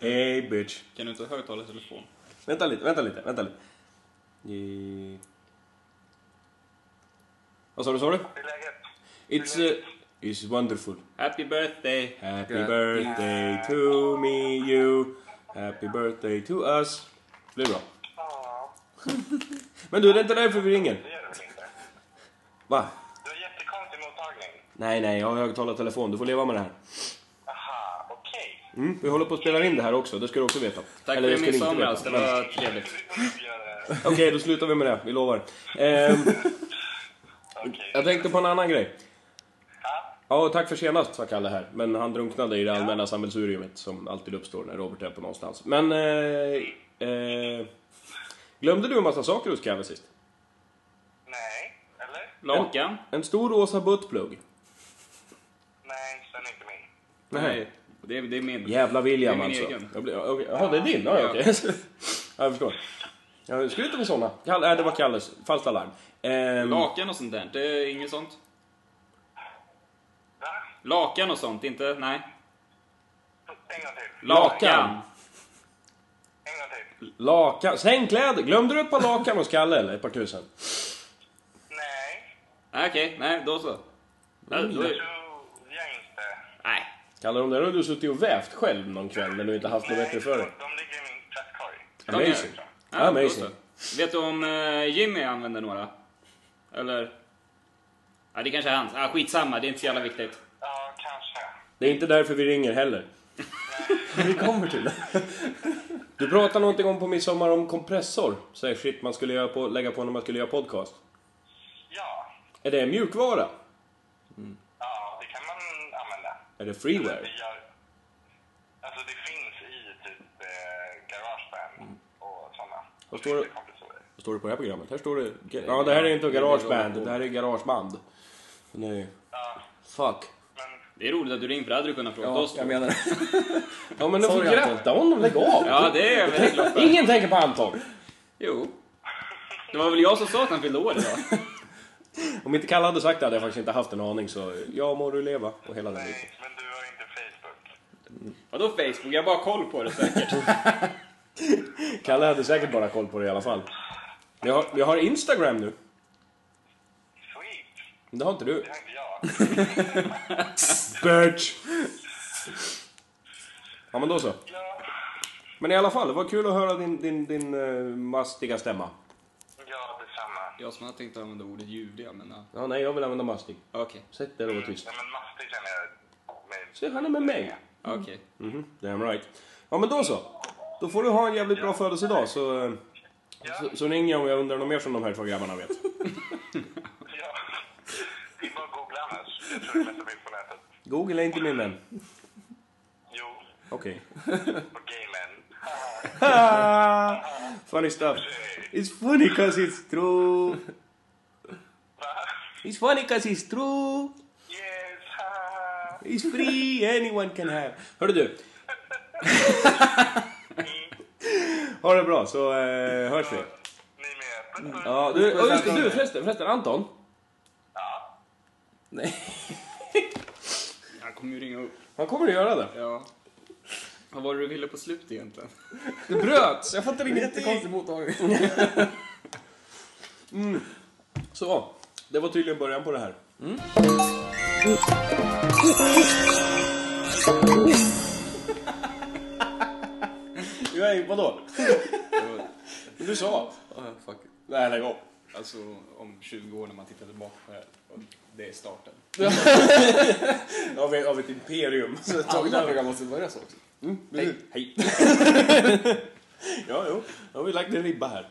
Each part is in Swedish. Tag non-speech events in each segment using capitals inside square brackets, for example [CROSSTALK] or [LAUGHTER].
Hey bitch. Kan du inte högtala i telefon? Vänta lite, vänta lite, vänta lite. Eh, Vad sa du, sa du? Hur är läget? It's, eh, it's wonderful. Happy birthday! Happy Grattis. birthday to me you. Happy birthday to us. Det är bra. Ja, Men du, det är inte därför vi ringer. det gör det väl inte? Va? Du har jättekonstig mottagning. Nej, nej, jag har högtalartelefon. Du får leva med det här. Aha, okej. Mm, vi håller på att spela in det här också, det ska du också veta. Tack Eller, det för ska du din inte somras, det veta. var trevligt. Du får nog göra det. Okej, då slutar vi med det. Vi lovar. Ehm, Okej. jag tänkte på en annan grej. Ja, Ja, tack för senast sa Kalle här. Men han drunknade i det allmänna sammelsuriumet som alltid uppstår när Robert är på någonstans. Men... Eh, eh, glömde du en massa saker hos Kalle sist? nej. Eller? Lakan? En stor rosa buttplug. Nej, den är inte min. Nej, det är, det är min. Jävla William Det är min alltså. egen. Jag blir- Jaha, det är din? Ja, okej. [LAUGHS] ja, jag förstår. Jag skryter med såna. Kalle, nej, det var Kalles. Falskt alarm. Ehm, Lakan och sånt där, det är inget sånt? Va? Lakan och sånt, inte? Nej. En gång till. Lakan. Lakan! En gång till. lakan. Sängkläder. Glömde du ett par lakan hos Kalle eller? Ett par tusen? Nej, Nej, Okej, nej, då så. Nej, då det är- tror jag inte. Nej. Kalle, de där har du suttit och vävt själv någon kväll när Alltså, du inte haft något bättre Nej, för dig. de ligger i min plastkorg. Amazing. Ja, Amazing. då så. Vet du om eh, Jimmy använder några? Eller? Ja, det kanske är hans. Ah, skitsamma, det är inte så jävla viktigt. Ja, kanske. Det är inte därför vi ringer heller. [LAUGHS] vi kommer till det. Du pratade någonting om på midsommar om kompressor. Så här shit man skulle göra på, lägga på när man skulle göra podcast. Ja. Är det mjukvara? Ja, det kan man använda. Är det Det, freeware? gör, alltså det finns i typ eh, Garageband och sådana. Vad står det? Kompressorer. Vad står det på det här programmet? Här står det... Ja, det här är inte garageband. Det här är garageband. Nej. Ja, Fuck. men Det är roligt att du ringde för det hade du kunnat fråga oss. jag menar [LAUGHS] Ja men du får Sorry, Anton. gratta honom, lägg av! Ja, det är jag väldigt glad för. Ingen tänker på Anton! Jo. Det var väl jag som sa att han fyllde år idag? Om inte Kalle hade sagt det hade jag faktiskt inte haft en aning så... Ja, må du leva och hela den biten. nej, men du har inte Facebook. Vadå Facebook? Jag har bara koll på det säkert. Kalle hade säkert bara koll på det i alla fall. Jag har, jag har Instagram nu. Sweet! Men Det har inte du. Det har inte jag. Bitch! Ja men då så. Ja, Men i alla fall, det var kul att höra din, din, din eh, mastiga stämma. ja detsamma. Jag som hade tänkt använda ordet ljuvliga, men ja. Ja, nej jag vill använda mastig. Okej, Sätt dig och var tyst. Nej, men mastig känner jag mig. Se, han är med mig. okej. Mhm, damn right. Ja men då så. Då får du ha en jävligt bra födelsedag så, eh, så, så ringer jag om jag undrar något mer som de här två grabbarna vet. Ja. Det är bara att googla annars. Jag tror det mesta finns på nätet. Google är inte min vän. Jo, Okej. på gamen. [LAUGHS] Ah, funny stuff. It's funny cause it's true. Va? It's funny cause it's true. Yes! haha. It's free, anyone can have. Hörru du. [LAUGHS] ha det bra så eh, hörs vi. Ni med? Puss, puss. Ja, du, oh, just det, du förresten, förresten Anton. Ja. Nej. Han kommer ju ringa upp. Han kommer att göra det. Ja. Vad var det du ville på slut egentligen? Det bröts, jag fattar ingenting. Jättekonstig mottagning. Så, det var tydligen början på det här. Mm. [LAUGHS] Vadå? Du sa? Ah, fuck. Nej, lägg av. Alltså om 20 år när man tittar tillbaka på det här. Och det [LAUGHS] är starten. Av, ett- av ett imperium. Så tog Alla det program måste börja så också. Hej. Hej. [LAUGHS] ja, jo. Då har vi lagt en ribba här.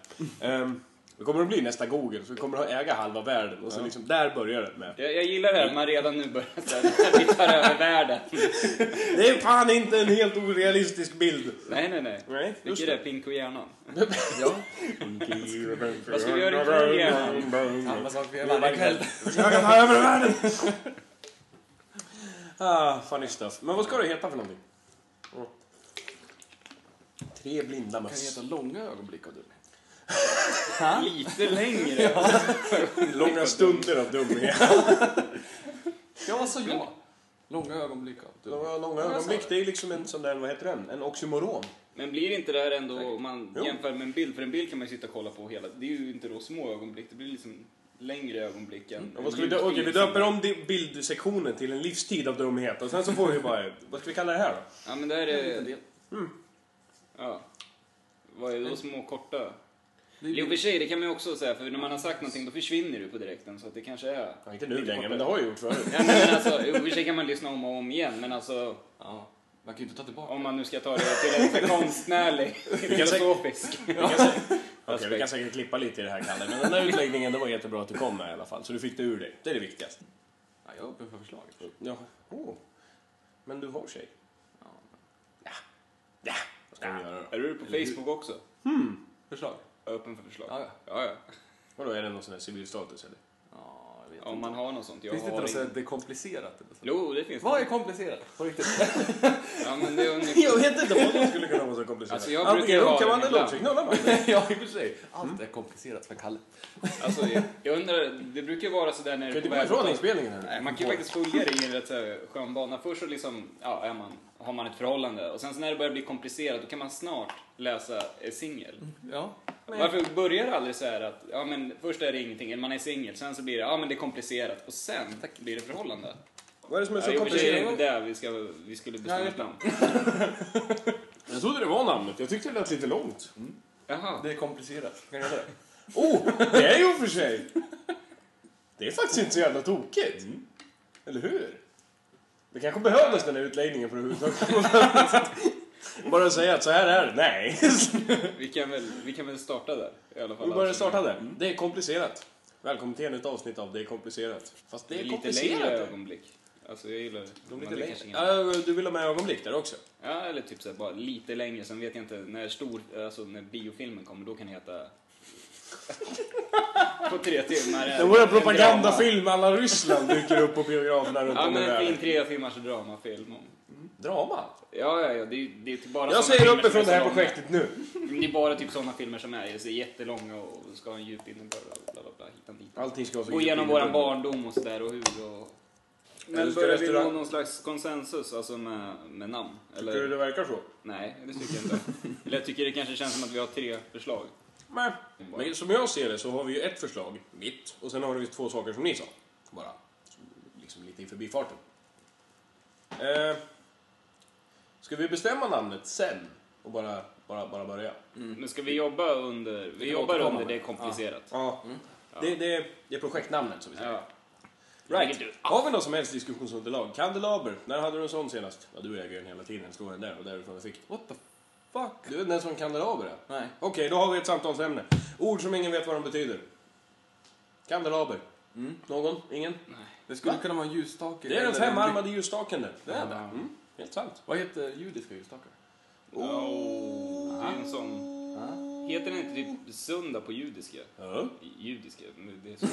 Um, det kommer att bli nästa Google, så vi kommer att äga halva världen. Och så liksom, där börjar det med. Jag, jag gillar det här att man redan nu börjar så här, vi tar över världen. Det är fan inte en helt orealistisk bild. Nej, nej, nej. Nej, just Vilket är det? Pinko i hjärnan? Ja. Vad ska vi göra ikväll [LAUGHS] igen? Samma sak för er varje kväll. Jag kan ta över världen! Ah, funny stuff. Men vad ska du heta för någonting? Tre blinda Kan möss. heta långa ögonblick av dumhet. Lite längre. Långa stunder av dumhet. Ja, så ja. Långa ögonblick av dumhet. [LAUGHS] Långa, långa ögonblick, det är liksom en sån där, vad heter den? En oxymoron. Men blir inte det här ändå, om man Jo. jämför med en bild, för en bild kan man ju sitta och kolla på hela, det är ju inte då små ögonblick, det blir liksom längre ögonblick än... Mm. Och Vad ska vi, dö- okej, vi döper om di- bildsektionen till en livstid av dumhet och sen så får vi bara, vad ska vi kalla det här då? Ja men det här Det är en liten är, del. ja. Vad är då små korta? Det är- Jo för sig, det kan man ju också säga, för när man har sagt någonting då försvinner du på direkten så att det kanske är... Ja, inte nu längre, men det har jag gjort förut. Ja, men alltså, jo, i och för sig kan man lyssna om och om igen, men alltså Ja, man kan ju inte ta tillbaka. om man nu ska ta det till [LAUGHS] en för konstnärlig, filosofisk. Vi kan, sä- [LAUGHS] Okej, vi kan säkert klippa lite i det här Kalle, men den där utläggningen det var jättebra att du kom med i alla fall. Så du fick det ur dig, det är det viktigaste. Ja, jag är öppen för förslag. Ja. Oh. Men du har tjej? Ja. Ja. Vad ska vi göra då? Är du på Facebook också? Förslag? Öppen för förslag? Ja, ja. ja. ja. Vadå, är det någon sån här civilstatus eller? Ja, jag vet Om inte. man har något sånt. Jag Finns det inte har något ingen- sådär dekomplicerat? Eller så? Jo, det finns Vad är det. komplicerat? På riktigt? Ja, men det är ungefär... Jag vet inte vad som skulle kunna vara så komplicerat. Alltså, jag Antingen brukar ha runkar man det eller ibland. långsignal. [LAUGHS] [LAUGHS] ja, i och för sig. Mm. Allt är komplicerat för Kalle. Alltså, jag- jag undrar, det brukar ju vara sådär när Kan det inte gå ifrån inspelningen Nej, här. man kan ju faktiskt följa det i en rätt så här skön bana. Först så liksom, ja, är man, har man ett förhållande och sen så när det börjar bli komplicerat då kan man snart läsa eh, singel. Mm. Ja. Varför börjar det aldrig så här att ja, men först är det ingenting, eller man är singel, sen så blir det ja, men det är komplicerat och sen blir det förhållande. Vad är det som är Ja, så i och för sig är det komplicerat? inte det vi, ska, vi skulle bestämma Nej, ett namn. Jag trodde det var namnet, jag tyckte det lät lite långt. Jaha. Det är komplicerat. Kan jag göra det? Oh, det är ju för sig! Det är faktiskt inte så jävla tokigt. Eller hur? Det kanske behövdes den här utläggningen för att [LAUGHS] överhuvudtaget- Bara säga att så här är det. Nej. [LAUGHS] Vi kan, väl, vi kan väl starta där i alla fall. Alltså, Vi börjar starta där. Det är komplicerat. Välkommen till ännu ett avsnitt av Det är komplicerat. Fast det Det är, är lite komplicerat. längre det. ögonblick. Alltså jag gillar det. De Men lite det kanske längre. ingen- Ja, du vill ha med ögonblick där också? Ja, eller typ såhär, bara lite längre, sen vet jag inte, när stor, alltså när biofilmen kommer, då kan det heta... [LAUGHS] på tre timmar. Det vore en propagandafilm alla Ryssland dyker upp på biograferna runt Ja, om i men en världen. tre timmars dramafilm. om- Drama? Ja, ja, ja, det är, ju- det är typ bara såna Jag säger filmer upp ifrån som det är här så långa. projektet nu. Det är bara typ sådana filmer som är så jättelånga och ska ha en djup innebörd. Bla, bla, bla, bla, hitan, hitan. Allting ska vara så Gå igenom djupt våran inne i bubblan. barndom och sådär och hur och... Eller Men ska börjar vi nå restaurang- någon slags konsensus alltså med, med namn? Eller? Tycker du det verkar så? Nej, det tycker jag inte. Eller jag tycker det kanske känns som att vi har tre förslag. Nej. Men som jag ser det så har vi ju ett förslag, mitt, och sen har vi två saker som ni sa. Bara som liksom lite i förbifarten. Eh, ska vi bestämma namnet sen och bara, bara, bara börja? Men ska vi jobba under... Vi jobbar återkomma under det med. är komplicerat. Ja. Mm. Det, det, det är projektnamnet som vi säger. Ja. Right. Vilket Har vi något som helst diskussionsunderlag? Kandelaber, när hade du en sån senast? Ja, du äger den hela tiden, står den där och därifrån jag fick den. What the fuck? Du vet inte ens vad en kandelaber är? Nej. Okej, då har vi ett samtalsämne. Ord som ingen vet vad de betyder. Kandelaber. Någon? Ingen? Det skulle Va? kunna vara en ljusstake. Det är den eller en femarmade ljusstaken det. Det är det. Ja. Mm, helt sant. ly- Vad heter judiska ljusstakar? Det är en sån... Heter den inte typ söndag på judiska? Ja. Judiska? men Det är så.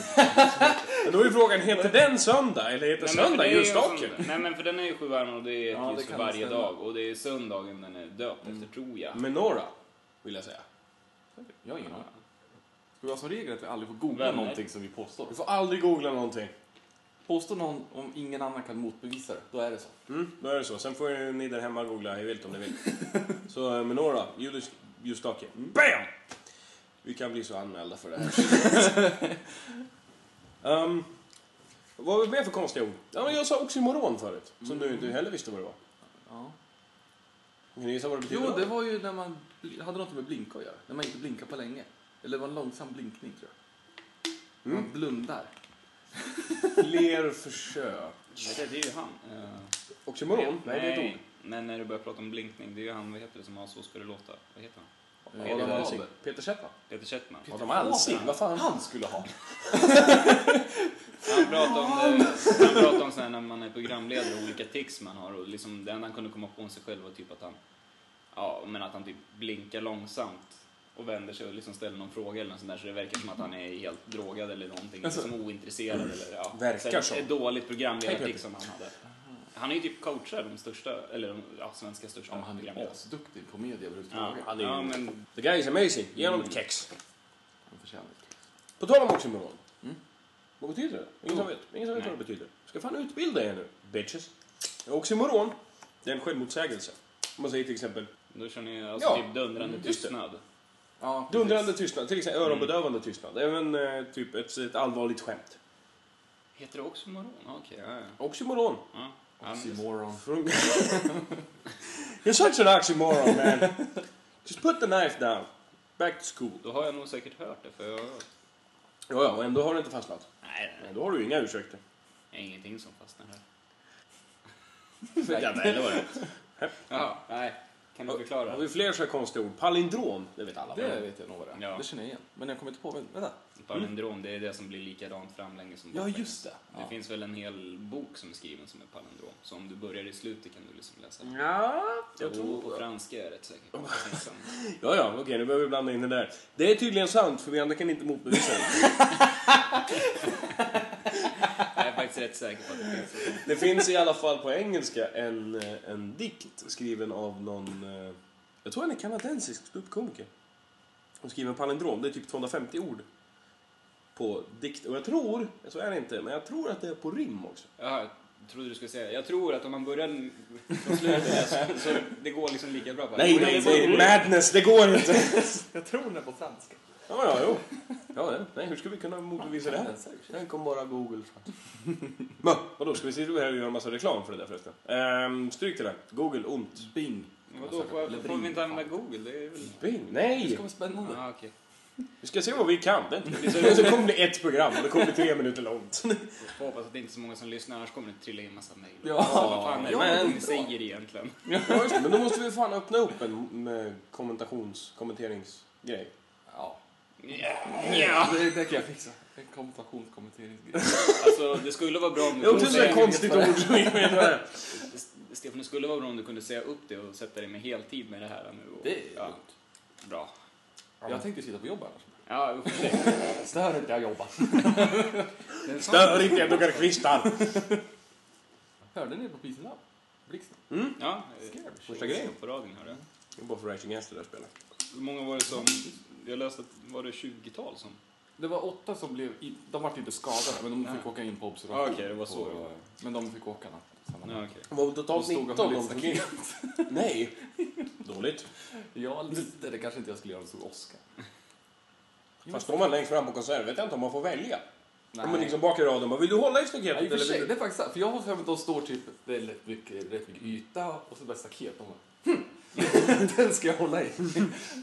Men då är ju frågan, heter den söndag eller heter Nej, men för söndag det är ju en ljusstaken? sån- Nej men för den är ju sju armar och det är Ja, ett det ljus kan varje stämma. dag. Och det är söndagen den är döpt efter tror Mm. jag. Menora, vill jag säga. Jag har ingen aning. Ska vi ha som regel att vi aldrig får googla Vänner. någonting som vi påstår? Du får aldrig googla någonting. Påstår någon om ingen annan kan motbevisa det, då är det så. Mm, då är det så. Sen får ju ni där hemma googla hej vilt om [LAUGHS] ni vill. Så eh, Menora, judisk ljusstake. BAM! Vi kan bli så anmälda för det här. [LAUGHS] um, vad var det mer för konstiga ord? Ja, men jag sa oxymoron förut, som du inte heller visste vad det var. Ja. Kan ni gissa vad det betyder? Jo, då? det var ju när man bl- hade något med blinka att göra. När man inte blinkar på länge. Eller det var en långsam blinkning tror jag. Man blundar. Mm. Fler försök. Men det, det är ju han. Eh, Oxymoron? Nej, det är ett ord. Men när du börjar prata om blinkning, det är ju han, vad heter det, som har Så ska det låta. Vad heter han? Eh, Adam Adam Alsing. Alsing. Peter Seppman. Peter Settman. Adam Alsing? Vad fan? Han skulle ha. Han pratade om, det, han pratade om så här när man är programledare och olika tics man har och liksom det enda han kunde komma på om sig själv var typ att han, ja, men att han typ blinkar långsamt och vänder sig och liksom ställer någon fråga eller något sånt där så det verkar som att han är helt drogad eller någonting, Alltså. liksom ointresserad eller ja. Verkar så här, så. Typ. Ett dåligt Hej, Peter. programledartics som han hade. Han är ju typ coachar de största, eller de ja, svenska största Ja, men han är programledarna. asduktig på media Ja, överhuvudtaget. Han är ju- ja, men The guy is amazing. Ge honom ett kex. Han förtjänar det. På tal om oxymoron. Vad betyder det? Ingen som Mm. Jo. vet. Ingen som vet vad det betyder. Ska fan utbilda er nu, bitches. Oxymoron, det är en självmotsägelse. Om man säger till exempel Då känner jag alltså Ja, typ dundrande just det. tystnad. Ja, precis. Mm. dundrande tystnad, till exempel öronbedövande tystnad. Även eh, typ ett, ett allvarligt skämt. Heter det också moron? Okej, ja, ja. Oxymoron. ja. ja. men- Oxymoron. Från... [LAUGHS] You're such an oxymoron man. Just put the knife down. Back to school. Då har jag nog säkert hört det för jag... Ja, ja, och ändå har det inte fastnat. Nej, Men då har du ju inga ursäkter. det är ingenting som fastnar här. Jävla elvaåring. Jaha, nej. Kan du Har förklara? vi fler så här konstiga ord? Palindrom, det vet alla. Det vet jag nog vad det är. Ja. Det känner jag igen. Men jag kommer inte på. Vänta. Palindrom, det är det som blir likadant framlänges som Ja, baklänges. just det. Det Ja. finns väl en hel bok som är skriven som är palindrom. Så om du börjar i slutet kan du liksom läsa. den. Ja, Jag tror på franska är jag rätt säker på. Tänksamt. Ja, ja, okej, nu behöver vi blanda in det där. Det är tydligen sant, för vi andra kan inte motbevisa det. Jag är faktiskt rätt säker på att det finns. Det finns i alla fall på engelska en, eh, en dikt skriven av någon, eh, jag tror han är kanadensisk ståuppkomiker. Hon skriver en palindrom, det är typ 250 ord på dikt. Och jag tror, så är det inte, men jag tror att det är på rim också. Jaha, jag trodde du skulle säga. Jag tror att om man börjar från slutet så, så det går liksom lika bra. bara. Nej, nej, det är madness, det går inte! Jag tror den är på franska. Ja, ja, jo. Ja, ja. nej, hur ska vi kunna motbevisa det här? Den kom bara Google fram. Men, vadå, ska vi sitta här och göra en massa reklam för det där förresten? Ehm, stryk till den. Google, ont. Bing. Men då får, jag, får vi inte använda Google? Det är väl... Bing, Det nej! ska vara spännande. Ah, okej. Vi ska se vad vi kan. Det är inte- det är så- så kommer det ett program och det kommer tre minuter långt. Får hoppas att det inte är så många som lyssnar, annars kommer det trilla in massa mejl. Ja. Alltså, vad fan är det Ja, men... men- ni säger egentligen? [LAUGHS] Ja, just det, men då måste vi fan öppna upp en med kommentations, kommenteringsgrej. Ja. Ja. Det, det kan jag fixa. En komputationskommenteringsgrej. Alltså, det skulle vara bra om Det du är också kunde ett sånt där säga... konstigt ord som ingen vet vad det [LAUGHS] är. S- Stefan, det skulle vara bra om du kunde säga upp det och sätta dig med heltid med det här nu. Och... Det är ja. lugnt. Bra. Jag tänkte sitta på jobb annars. Ja, i och för sig. Stör inte jag [LAUGHS] jobbar. Det är en sån- Stör inte, jag duckar kvistar. Hörde ni på Peace and Love? Blixten. Ja, Eh, Första grejen. På radion, hörde jag. Det är bara för Raging Against det där spelet. Hur många var det som... Jag läste att var det 20-tal som... Det var åtta som blev... i- De vart inte skadade, men de fick åka in på observation. Ja, Ah, okej, det var så På- det var. eh, Men de fick åka natt. samma natt. Ja, okej. Det var väl totalt De stod 19 och de höll i fick in. [LAUGHS] Nej. Dåligt. Ja, lite. Det kanske inte jag skulle göra om det stod Oscar. Fast står man längst fram på konsert vet jag inte om man får välja. Nej. Om man liksom bak i raden bara, vill du hålla i Ja, i staketet och för eller sig, vill du... det är faktiskt sant. För jag har för mig att de står typ, det är rätt mycket, rätt mycket yta och så bara staket. De bara, hm, [LAUGHS] den ska jag hålla i.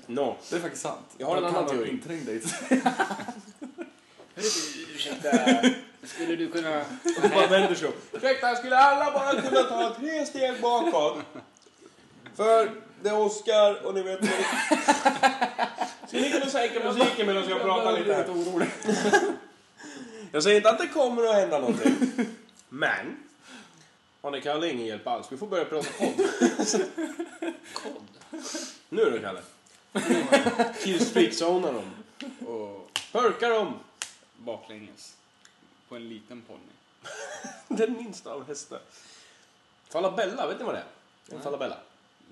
No. Det är faktiskt sant. Jag har en Den annan kan vara teori. inträngd i. Ursäkta, skulle du kunna... Och bara vänder sig om. Ursäkta, skulle alla bara kunna ta tre steg bakåt? För det är Oscar och ni vet vad det... Skulle ni kunna sänka musiken medan jag pratar lite här? orolig. Jag säger inte att det kommer att hända någonting. Men. Arne Kalle ingen hjälp alls. Vi får börja prata podd. Kod? Nu då Kalle. Killstreak-zonar dem. Och Hörkar dem. baklänges. På en liten ponny. Den minsta av hästar. Falabella, vet ni vad det är? En falabella.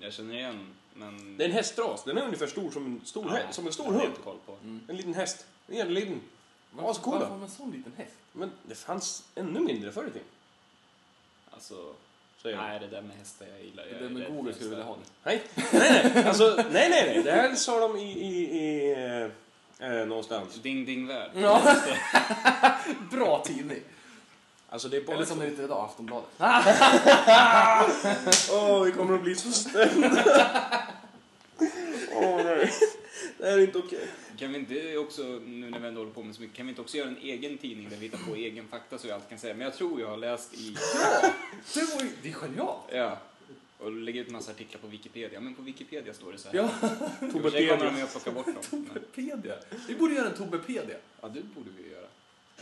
Jag känner igen, men... Det är en hästras. Den är ungefär stor som en stor, Ja, hä- som en det stor har jag hund. inte koll på. En liten häst. En jätteliten. Ascool Varför då. har man en sån liten häst? Men det fanns ännu mindre förr i tiden. Alltså, Säger jag. nej det där med hästar jag gillar. Det Jag där med rädd för Google skulle du vilja hästar. ha det. Nej, nej, nej. Alltså, nej, nej, nej. Det här sa de i... i, i eh, eh, någonstans. Ding Ding Värld. Ja. Bra tidning. Alltså det är bara... Eller som det heter idag, Aftonbladet. Åh, vi kommer att bli så stämda. Åh nej. Det här är inte okej. Kan vi inte också, nu när vi ändå håller på med så mycket, kan vi inte också göra en egen tidning där vi hittar på egen fakta så vi alltid kan säga, men jag tror jag har läst i... Det, var ju, det är genialt. Ja. Och lägga ut massa artiklar på Wikipedia. Men på Wikipedia står det så här. Ja. Tobbe Pedia. kommer de ju att plocka bort dem. Men, Pedia. Vi borde göra en Tobbepedia. ja, det borde vi ju göra.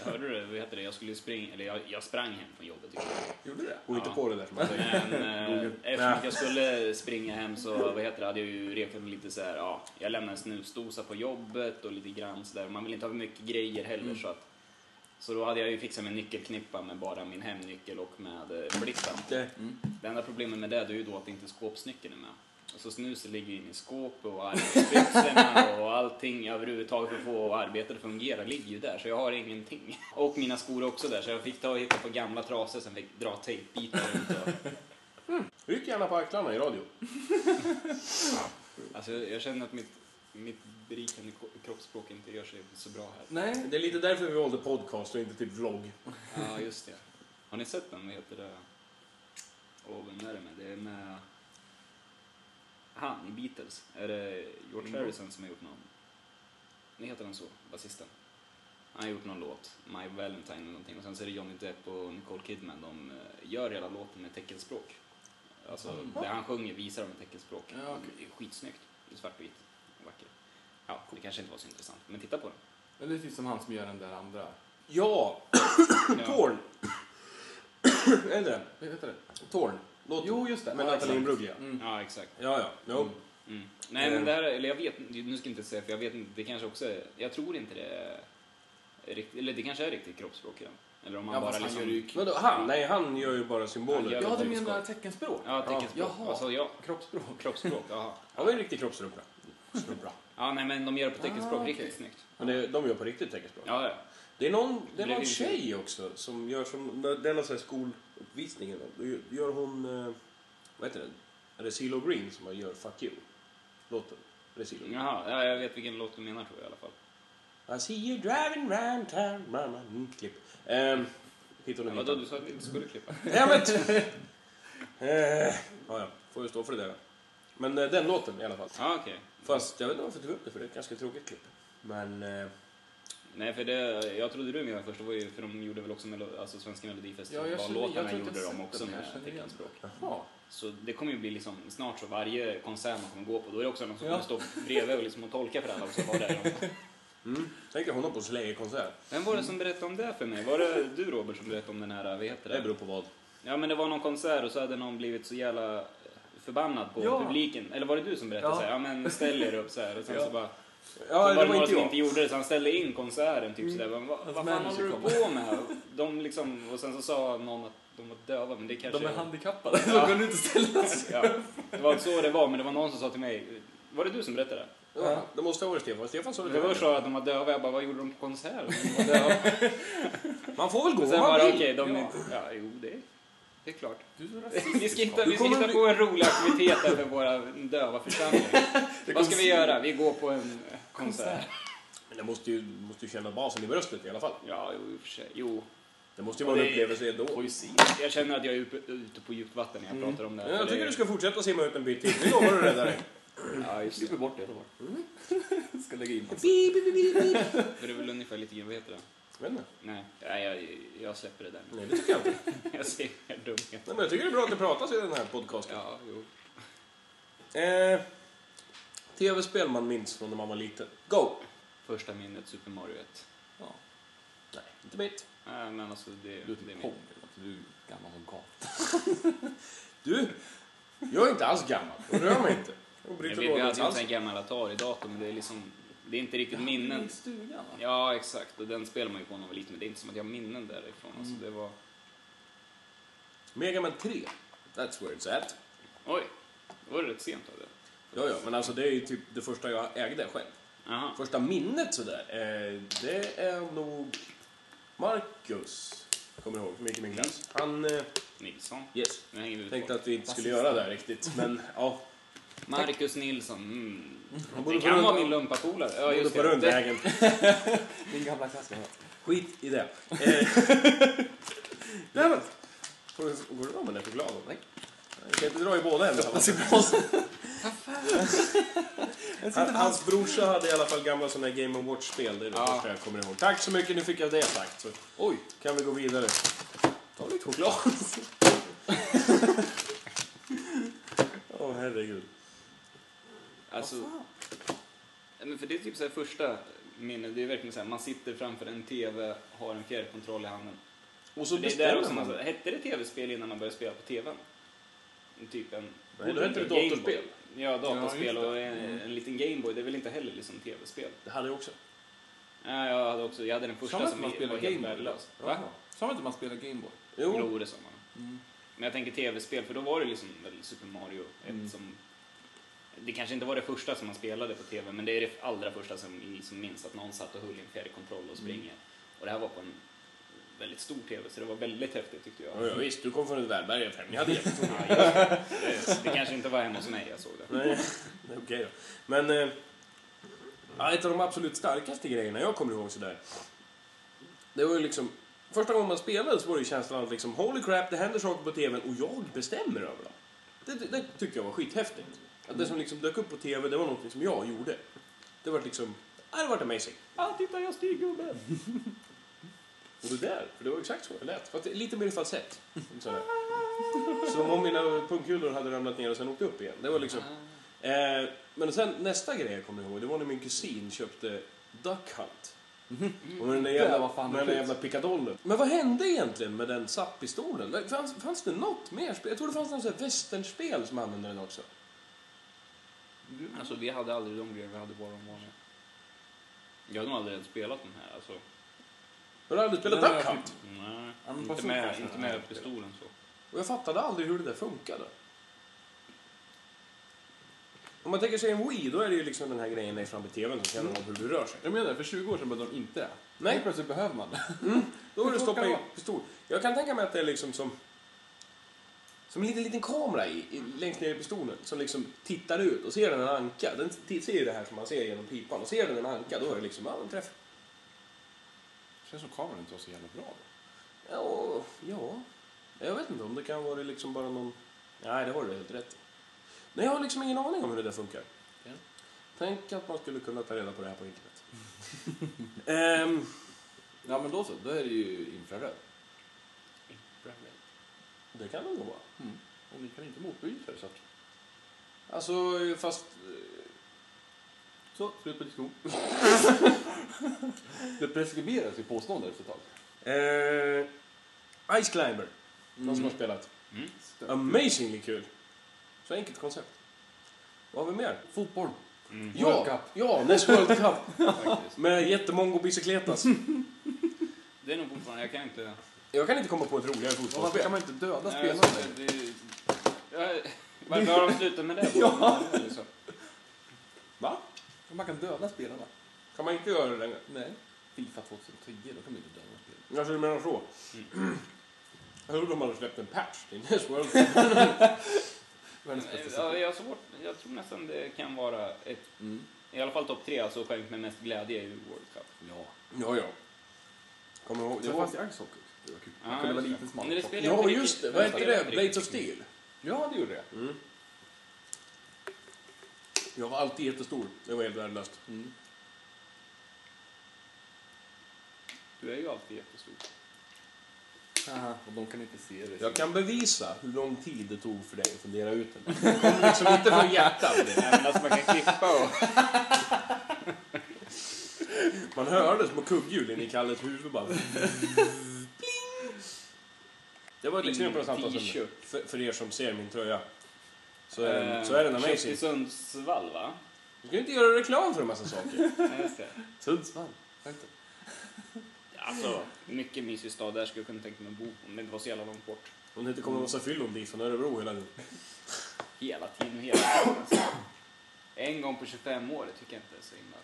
Jag hörde det, vad heter det, jag skulle springa, eller jag, jag sprang hem från jobbet. tycker jag. Gjorde det? Gå inte Ja. på det där som man säger. Men eh, Google. eftersom att jag skulle springa hem så vad heter det, hade jag ju rekat mig lite så här, ja, jag lämnade en snusdosa på jobbet och lite grann så där. Man vill inte ha för mycket grejer heller så att så då hade jag ju fixat min nyckelknippa med bara min hemnyckel och med eh, blippen. Det- Det enda problemet med det, det är ju då att inte skåpsnyckeln är med. Och så snuset ligger in i skåp och arbetsbyxorna och allting överhuvudtaget för att få arbetet att fungera ligger ju där, så jag har ingenting. Och mina skor är också där, så jag fick ta och hitta på gamla trasor, sen fick dra tejpbitar runt och Ryck gärna på axlarna i radio. Alltså, jag känner att mitt, mitt berikande ko- kroppsspråk inte gör sig så bra här. Nej. Det är lite därför vi valde podcast och inte typ vlogg. Ja, just det. Har ni sett den? Vad heter det? Åh, vem är det med? Det är med... Han i Beatles. Är det George Mm. Harrison som har gjort någon? Ni heter han så? Basisten? Han har gjort någon låt, My Valentine eller någonting. Och sen så är det Johnny Depp och Nicole Kidman. De eh, gör hela låten med teckenspråk. Alltså, Mm. det han sjunger visar de med teckenspråk. Ja, okej. Det är skitsnyggt. Det är svart och vitt. Vackert. Ja, det kanske inte var så intressant, men titta på den. Men det är typ som han som gör den där andra. Ja, Ja. Torn. är det Vad heter det? Torn? Låten. Jo, just det. Med Ja, Nathalie exakt. Imbruglia. Mm. ja, exakt. Ja, ja. Jo. Mm. Mm. Nej, Eh. men det här, eller jag vet nu ska jag inte säga för jag vet inte, det kanske också är, jag tror inte det är riktigt, eller det kanske är riktigt kroppsspråk i den. Eller om man Ja, bara fast han liksom... gör det ju Vadå, han? Nej, han gör ju bara symboler. Typ Han gör Ja, du det. menar teckenspråk? Ja, teckenspråk. Jaha. Alltså, ja, Kroppsspråk. kroppsspråk, jaha. Han var ju en riktig kroppsrumpa. Strumpra. Ja, nej men de gör det på teckenspråk Ah, okej. riktigt snyggt. [LAUGHS] Men det, de gör på riktigt teckenspråk. Ja, ja. Det är någon, det Det var en är ju- tjej också som gör som, den har sån här skoluppvisning eller något. Då gör hon, eh, vad heter den? Är det CeeLo Green som gör Fuck You? Låten. Är det CeeLo? Jaha, ja, jag vet vilken låt du menar tror jag i alla fall. I see you driving round town, mama. Mm, klipp. Ehm, hittade hon en gitarr. Vadå, du sa att vi inte skulle [LAUGHS] klippa? Ja, men... [LAUGHS] Eh, ja, ja. Får ju stå för det där. Men eh, den låten i alla fall. Ja, okej. Fast jag vet inte varför jag tog upp det för det är ett ganska tråkigt klipp. Men... Eh, Nej, för det, jag trodde du menade först, det var ju, för de gjorde väl också melo, alltså Svenska Ja, jag känner- jag Melodifestivalen-låtarna tror inte gjorde jag de sett också den, jag med känner igen teckenspråk. jaha. Så det kommer ju bli liksom snart så varje konsert man kommer gå på, då är det också någon som Ja. kommer stå bredvid och liksom och tolka för alla och så var det. Mm. Tänk dig honom på Slayer-konsert. Vem var det som berättade om det för mig? Var det du Robert som berättade om den här, vad heter Det det? beror på vad. Ja men det var någon konsert och så hade någon blivit så jävla förbannad på Ja. publiken. Eller var det du som berättade Ja. så här, ja men ställ er upp så här och sen Ja. så bara. Ja, så det var var några inte som jag. inte gjorde det så han ställde in konserten typ sådär. Vad, vad Hans fan manager håller du kom. på med? De liksom, och sen så sa någon att de var döva men det kanske De är handikappade. Ja. De kunde inte ställa sig. ja. Det var så det var men det var någon som sa till mig, var det du som berättade? Ja, det måste ha varit Stefan. Stefan sa det Det var till så mig. att de var döva, jag bara vad gjorde de på konserten? [LAUGHS] Man får väl gå Och om sen man bara vill. okej, de är Ja. inte... Ja, jo det är, det är klart. [LAUGHS] Du är så Vi ska hitta, vi ska kommer hitta bli- på en rolig aktivitet här för våra [LAUGHS] döva församlingar. Vad ska vi göra? Vi går på en eh, konsert. Men det måste ju, måste ju känna basen i bröstet i alla fall. Ja, jo i och för sig. Jo, Det måste ju vara en det är- upplevelse ändå. Poesi. jag känner att jag är uppe- ute på djupt vatten när jag pratar om det här. Mm. Ja, jag för det tycker är- du ska fortsätta simma ut en bit till. Vi lovar att rädda dig. Ja, just det. bort det. Mm. [LAUGHS] Ska lägga in hans. Bi, bi, bi, bi, bi. För det är väl ungefär lite grann, vad heter det? Jag vet inte. Nej, nej jag, jag släpper det där nu. Nej, det tycker jag inte. [LAUGHS] Jag ser mer dumhet. Nej, men jag tycker det är bra att det pratas i den här podcasten. Ja, jo. Eh, Tv-spel man minns från när man var liten. Go! Första minnet, Super Mario 1. Ja. Nej, inte mitt. Nej, men alltså det, Du är det är typ mitt. Pong. eller något. Du är gammal som gatan. Du, jag är inte alls gammal. Och rör mig inte. Jag Jag bryter vet, vi lådan hade ju en sån alls. här gammal Atari-dator, men det är liksom... Det är inte riktigt I minnen. stugan va? Ja, exakt. Och den spelar man ju på när man var liten, men det är inte som att jag har minnen därifrån. Alltså, det var... Mega Man 3. That's where it's at. Oj, då var det rätt sent av det. Ja, ja, men alltså det är ju typ det första jag ägde själv. Aha. Första minnet sådär, eh, det är nog Marcus, kommer jag ihåg, som gick i min klass. Han, eh, Nilsson. yes, Nu hänger vi ut tänkte folk. att vi inte skulle göra det här riktigt, men ja. Marcus Nilsson. Mm. borde få Det kan runda- vara min lumpapolare. Ja, Både just på det. det. [LAUGHS] rundvägen. Min gamla klassiker. Skit i det. [LAUGHS] Eh, Nej men. Får du- Går det bra med den här chokladen? Nej. Jag kan inte dra i båda händerna. va? Han- Hans brorsa hade i alla fall gamla sådana här Game Watch-spel. Det är det Ja. första jag kommer ihåg. Tack så mycket, nu fick jag det sagt. Så Oj, kan vi gå vidare. Ta lite choklad. [LAUGHS] Åh herregud. Alltså, Nej, men för det är typ så här första minnet. Det är verkligen så här, man sitter framför en TV, har en fjärrkontroll i handen. Och så Det är där bestämmer också man. man, så här, hette det TV-spel innan man började spela på TVn? Typ en... Nej, då hette det Gameboy. datorspel. Ja, Ja, datorspel just det. och en, Mm. en liten Gameboy. Det är väl inte heller liksom TV-spel? Det hade jag också. Nej, jag hade också, jag hade den Sa man första att som man var spelar helt Gameboy? värdelös. Va? sa man inte man spelar Gameboy? alltså. Jo. Jo, det sa man. Men jag tänker tv-spel, för då var det liksom väl Super Mario 1 Mm. som... Det kanske inte var det första som man spelade på tv, men det är Mm. det allra första som vi liksom minns att någon satt och höll i en fjärrkontroll och springer. Och det här var på en väldigt stor TV, så det var väldigt häftigt tyckte jag. Ja, ja, visst, du kom från ett välbärgat hem. Ni [LAUGHS] hade jättestor Ja, just det. det kanske inte var hemma hos mig jag såg det. Nej, det är okej då. Men eh, ja, ett av de absolut starkaste grejerna jag kommer ihåg sådär. Det var ju liksom, första gången man spelade så var det ju känslan att liksom holy crap, det händer saker på tvn och jag bestämmer över dem. Det, det, det tyckte jag var skithäftigt. Att det som liksom dök upp på tv, det var något som jag gjorde. Det var liksom, ja, det var amazing. Ah, titta jag styr gubben! Och det där, för det var exakt så det lät. Fast lite mer i falsett. Sådär. Som om mina pungkulor hade ramlat ner och sen åkt upp igen. Det var liksom... Eh, men sen nästa grej jag kommer ihåg, det var när min kusin köpte Duck Hunt. Och med den där Jävlar, jävla, vad fan med den där coolt. jävla pickadollen. Men vad hände egentligen med den SAP-pistolen? Det Fanns, fanns det något mer spel? Jag tror det fanns något sånt här västernspel som använde den också. Alltså vi hade aldrig de grejerna, vi hade bara de vanliga. Jag hade nog aldrig ens spelat den här alltså. Har du aldrig spelat Nej, Duck jag Hunt? Nej, Ja, men inte personen med, kanske inte den här. med pistolen så. Och jag fattade aldrig hur det där funkade. Om man tänker sig en Wii, då är det ju liksom den här grejen längst fram i TVn som känner om hur du rör sig. Jag menar, för 20 år sedan behövde de inte det. Nej. Nu plötsligt behöver man det. Då är Hur det svårt stoppa kan i det vara? pistol. Jag kan tänka mig att det är liksom som... Som en liten, liten kamera i, i, längst ner i pistolen som liksom tittar ut och ser den en anka. Den t- ser ju det här som man ser genom pipan och ser den en anka då är det liksom, ja en träff. känns som kameran inte var så jävla bra då. Ja, ja, jag vet inte om det kan vara liksom bara någon... Nej, det har du helt rätt i. Nej, jag har liksom ingen aning om hur det där funkar. Ja. Tänk att man skulle kunna ta reda på det här på internet. [LAUGHS] Ehm, Ja, men då så. Då är det ju infraröd. det kan det nog vara. Och ni kan inte motbevisa det så att... Alltså, fast... Så, slut på diskussion. [LAUGHS] det preskriberas ju påståenden efter ett tag. Eh, Ice Climber, någon som har spelat. Mm. Amazingly kul! Så enkelt koncept. Vad har vi mer? Fotboll. [LAUGHS] Mm. World Ja, Cup. ja, näst World Cup Faktiskt. med jättemongo bicicletas. Det är nog fortfarande, jag kan inte... Jag kan inte komma på ett roligare Och varför fotbollsspel. kan man inte döda Nej, spelarna? alltså, det, jag, varför har de slutat med det? Ja. Liksom. Va? Man kan döda spelarna. Kan man inte göra det längre? Nej. Fifa 2010, då kan man inte döda spelarna. Alltså du menar så? Jag trodde de hade släppt en patch till Ness World Cup. Världens bästa Ja, spelare. jag, har svårt, jag tror nästan det kan vara ett, Mm. i alla fall topp tre, alltså skänkt med mest glädje i World Cup. Ja. Ja, ja. Kommer du ihåg? Det Det var... fanns ju Ice Hockey. Det var kul. Ja, Man kunde vara just liten det. smal. Men det spelar- Ja, just det. Vad hette Spelar det? inte Blades of riktigt. Steel? Mm. Ja, det gjorde det. Jag var alltid jättestor. Det var helt värdelöst. Mm. Du är ju alltid jättestor. Haha, och de kan inte se det. Jag kan bevisa hur lång tid det tog för dig att fundera ut den. Det kom liksom inte från hjärtat. Även att alltså, man kan klippa och... Man hörde små kugghjul in i Kalles huvud bara. Det var ett exempel på samtalsämne. T-shirt. För, för er som ser min tröja. Så är den, så är den Köpt i amazing. Sundsvall Eh, [LAUGHS] va? Du ska ju inte göra reklam för en massa saker. Ja, just det. Sundsvall. Vänta. Alltså, mycket mysig stad där skulle jag kunna tänka mig att bo om det inte var så jävla långt bort. Om det inte kommer en massa fyllon dit från Örebro hela tiden. Hela tiden, hela tiden. Alltså. En gång på 25 år, det tycker jag inte är så himla...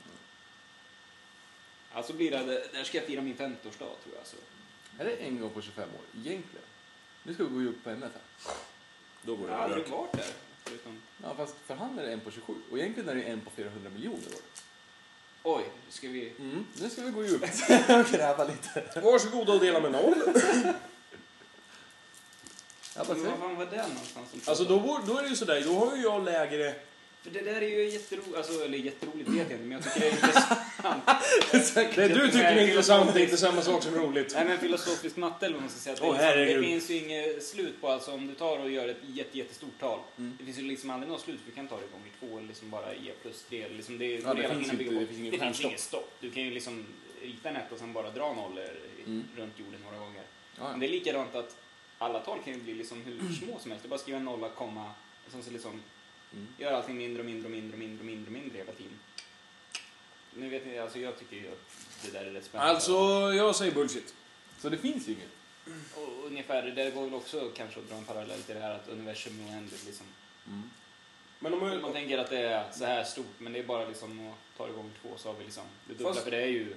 Alltså blir det, där ska jag fira min 50-årsdag tror jag. alltså. Så. Är det en gång på 25 år? Egentligen. Nu ska vi gå upp på ämnet här. Då går det Jag att har aldrig röka. varit där. Förutom... Ja, fast för han är det en på 27. Och egentligen är det en på 400 miljoner år. Oj, ska vi... Mm. Nu ska vi [LAUGHS] gå upp och gräva lite. Varsågoda och dela med noll. Ja, Men vad vad säger fan var det någonstans? Som Alltså då, vore- då är det ju sådär, då har ju jag lägre... För det där är ju jätteroligt, alltså, eller jätteroligt vet jag inte, men jag tycker det är intressant. [LAUGHS] Det du tycker är Nej, intressant är inte samma sak som roligt. Nej men filosofisk matte eller vad man ska säga. Åh, det, är liksom, herregud. det finns ju inget slut på, alltså om du tar och gör ett jätte, jättestort tal. Mm. Det finns ju liksom aldrig något slut, för du kan ta det gånger två eller liksom bara ge plus tre. eller Liksom det, är- Ja, det hela finns tiden ju bygger på. inte- det finns ingen det finns stjärnstopp. inget stopp. Du kan ju liksom rita en ett och sen bara dra nollor i- Mm. runt jorden några gånger. Men Ja, det är likadant att alla tal kan ju bli liksom hur små som helst. Du bara skriver en nolla, komma, och sen så liksom Mm. gör allting mindre och mindre och mindre och mindre och mindre, och mindre hela tiden. Nu vet ni, alltså jag tycker ju att det där är rätt spännande. Alltså, jag säger bullshit. Så det finns ju inget. Och ungefär, det där går väl också kanske att dra en parallell till det här att universum är oändligt. Liksom. Mm. Men om Om man jag... tänker att det är så här stort, men det är bara liksom att ta det gånger två så har vi liksom det dubbla. Fast- För det är ju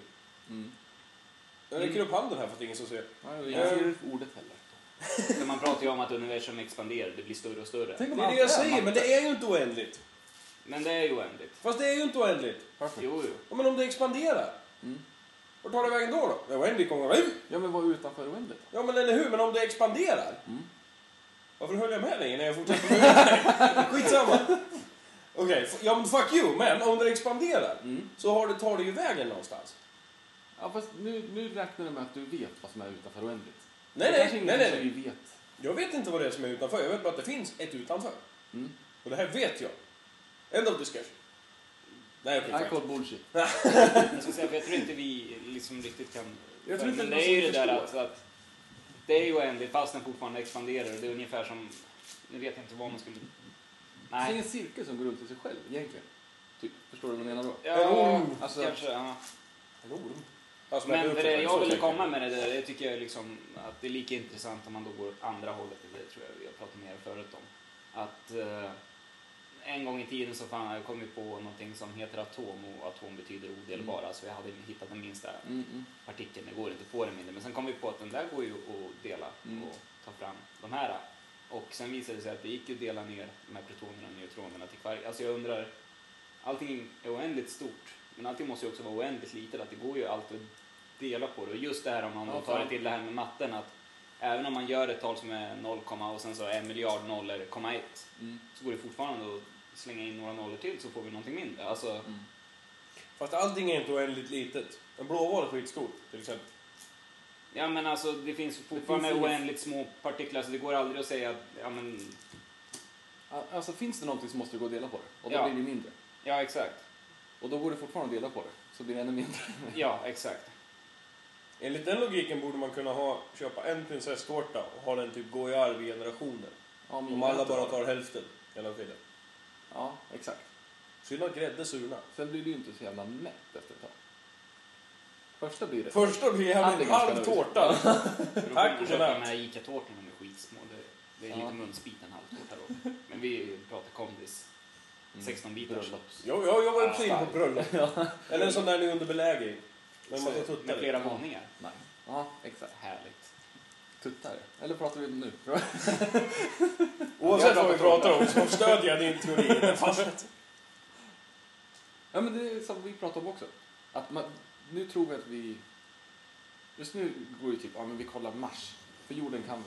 Jag räcker upp handen här för att det är ingen som ser. Nej, jag ser ordet heller. För man pratar ju om att universum expanderar, det blir större och större. Det är det jag säger, men det är ju inte oändligt. Men det är ju oändligt. Fast det är ju inte oändligt. Jo, jo. Ja, men om det expanderar, Mm. vart tar det vägen då? då? Ja, Oändligt gånger Ja, men vad är utanför oändligt? Ja, men eller hur? Men om det expanderar? Mm. Varför höll jag med dig när jag fortsatte med [LAUGHS] Skitsamma. Okej, f- ja men fuck you. Men om det expanderar så har det, tar det ju vägen någonstans. Ja, fast nu, nu räknar du med att du vet vad som är utanför oändligt. Nej, Det kanske nej, ingen nej, nej. nej. som vet. Jag vet inte vad det är som är utanför. Jag vet bara att det finns ett utanför. Mm. Och det här vet jag. End of discussion. Nej, okej. I Okay, call bullshit. Jag, ska säga, för jag tror inte vi liksom riktigt kan... Jag tror inte men det är det är ju någon det som där att, förstår. att det är ju oändligt fast den fortfarande expanderar. Det är ungefär som... Nu vet jag inte vad man skulle... Det är Nej. en cirkel som går runt i sig själv egentligen. Typ, förstår du vad jag menar då? Ja, Alltså- kanske. Ja. en orm. Ja, som äter Men upp Alltså, det sig där själv, jag så ville tänker komma med det där, det tycker jag är liksom att det är lika intressant om man då går åt andra hållet. Det tror jag jag pratade med er förut om. Att eh, en gång i tiden så fan, jag kom ju på någonting som heter atom och atom betyder odelbara. Mm. Så jag hade hittat den minsta Mm, mm. partikeln, det går inte att få den mindre. Men sen kom vi på att den där går ju att dela Mm. och ta fram de här. Och sen visade det sig att det gick ju att dela ner de här protonerna och neutronerna till kvark. Alltså jag undrar, allting är oändligt stort, men allting måste ju också vara oändligt litet. Att det går ju alltid att dela på det. Och just det här om man Ja, då tar fan. det till det här med matten, att även om man gör ett tal som är 0, och sen så en miljard nollor, komma ett, Mm. så går det fortfarande att slänga in några nollor till så får vi någonting mindre. Alltså, Mm. Fast allting är inte oändligt litet. En blåval är skitstort, till exempel. Ja men alltså det finns ju fortfarande Det finns inget- oändligt små partiklar så det går aldrig att säga att, ja men, Al- Alltså finns det någonting så måste du gå och dela på det. Och då Ja. blir det mindre. ja exakt. Och då går det fortfarande att dela på det. Så blir det [LAUGHS] ännu mindre. Ja [LAUGHS] exakt. Enligt den logiken borde man kunna ha, köpa en prinsesstårta och ha den typ gå i arv i generationer. Ja, men Om alla bara tar hälften hela tiden. Ja, exakt. Synd att grädde surna. Sen blir du ju inte så jävla mätt efter ett tag. Första blir det. Första blir Ja, det jag är en ganska halv löst. tårta. För då Tack kan för man köpa det. de här ICA-tårtorna de är skitsmå. Det, det är Ja. lite munsbit en halvtårta då. Men vi pratar kompis. Mm. 16 bitar. Bröllops. Jo, jo, jag var också Ja, inne på [LAUGHS] bröllop. Eller en sån där ni är under belägring. Med en massa tuttar Med i. flera våningar. Nej. Ja, exakt. Härligt. Tuttar. Eller pratar vi om nu? tror jag. Oavsett vad vi Jag pratar pratar om så stödjer jag din teori. Fast- ja, men det är som vi pratade om också. Att man, nu tror vi att vi... Just nu går ju typ, ja men vi kollar Mars. För jorden kan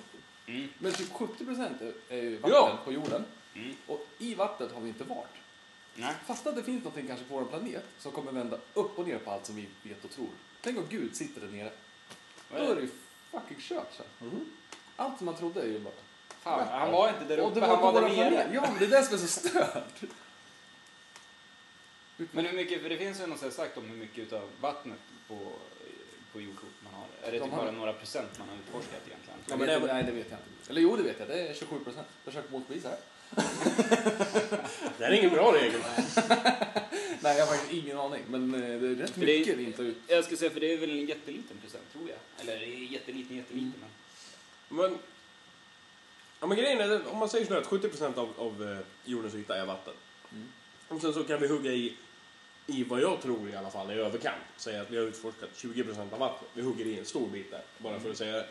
vi. Mm. Men typ 70 procent är ju vatten Ja. på jorden. Mm. Och i vattnet har vi inte varit. Nej. Fast att det finns någonting kanske på vår planet som kommer vända upp och ner på allt som vi vet och tror. Tänk om Gud sitter där nere. Då är det ju fucking kört sen. Allt som man trodde är ju bara... Fan, han var inte där Och uppe, det var han var på vår där nere. planet. Ja, men det är det som är så stört. Men hur mycket, för det finns ju något sånt sagt om hur mycket utav vattnet på, på jordklotet man har. Är det De typ har- bara några procent man har utforskat egentligen? Ja, Ja, men men det- Nej, det vet jag inte. Eller jo, det vet jag. Det är 27 procent. Försök motbevisa det. Det här är ingen bra regel. Nej, jag har faktiskt ingen aning. Men eh, det är rätt För det är- mycket vi inte har ut. Jag skulle säga för det är väl en jätteliten procent tror jag. Mm. Eller det är jätteliten, jätteliten. Men Men, ja, men grejen är, den- om man säger sådär att 70% av, av eh, jordens yta är vatten. Och sen så kan vi hugga i, i vad jag tror i alla fall är överkant. Säga att vi har utforskat 20% av vattnet. Vi hugger i en stor bit där, bara för att säga det.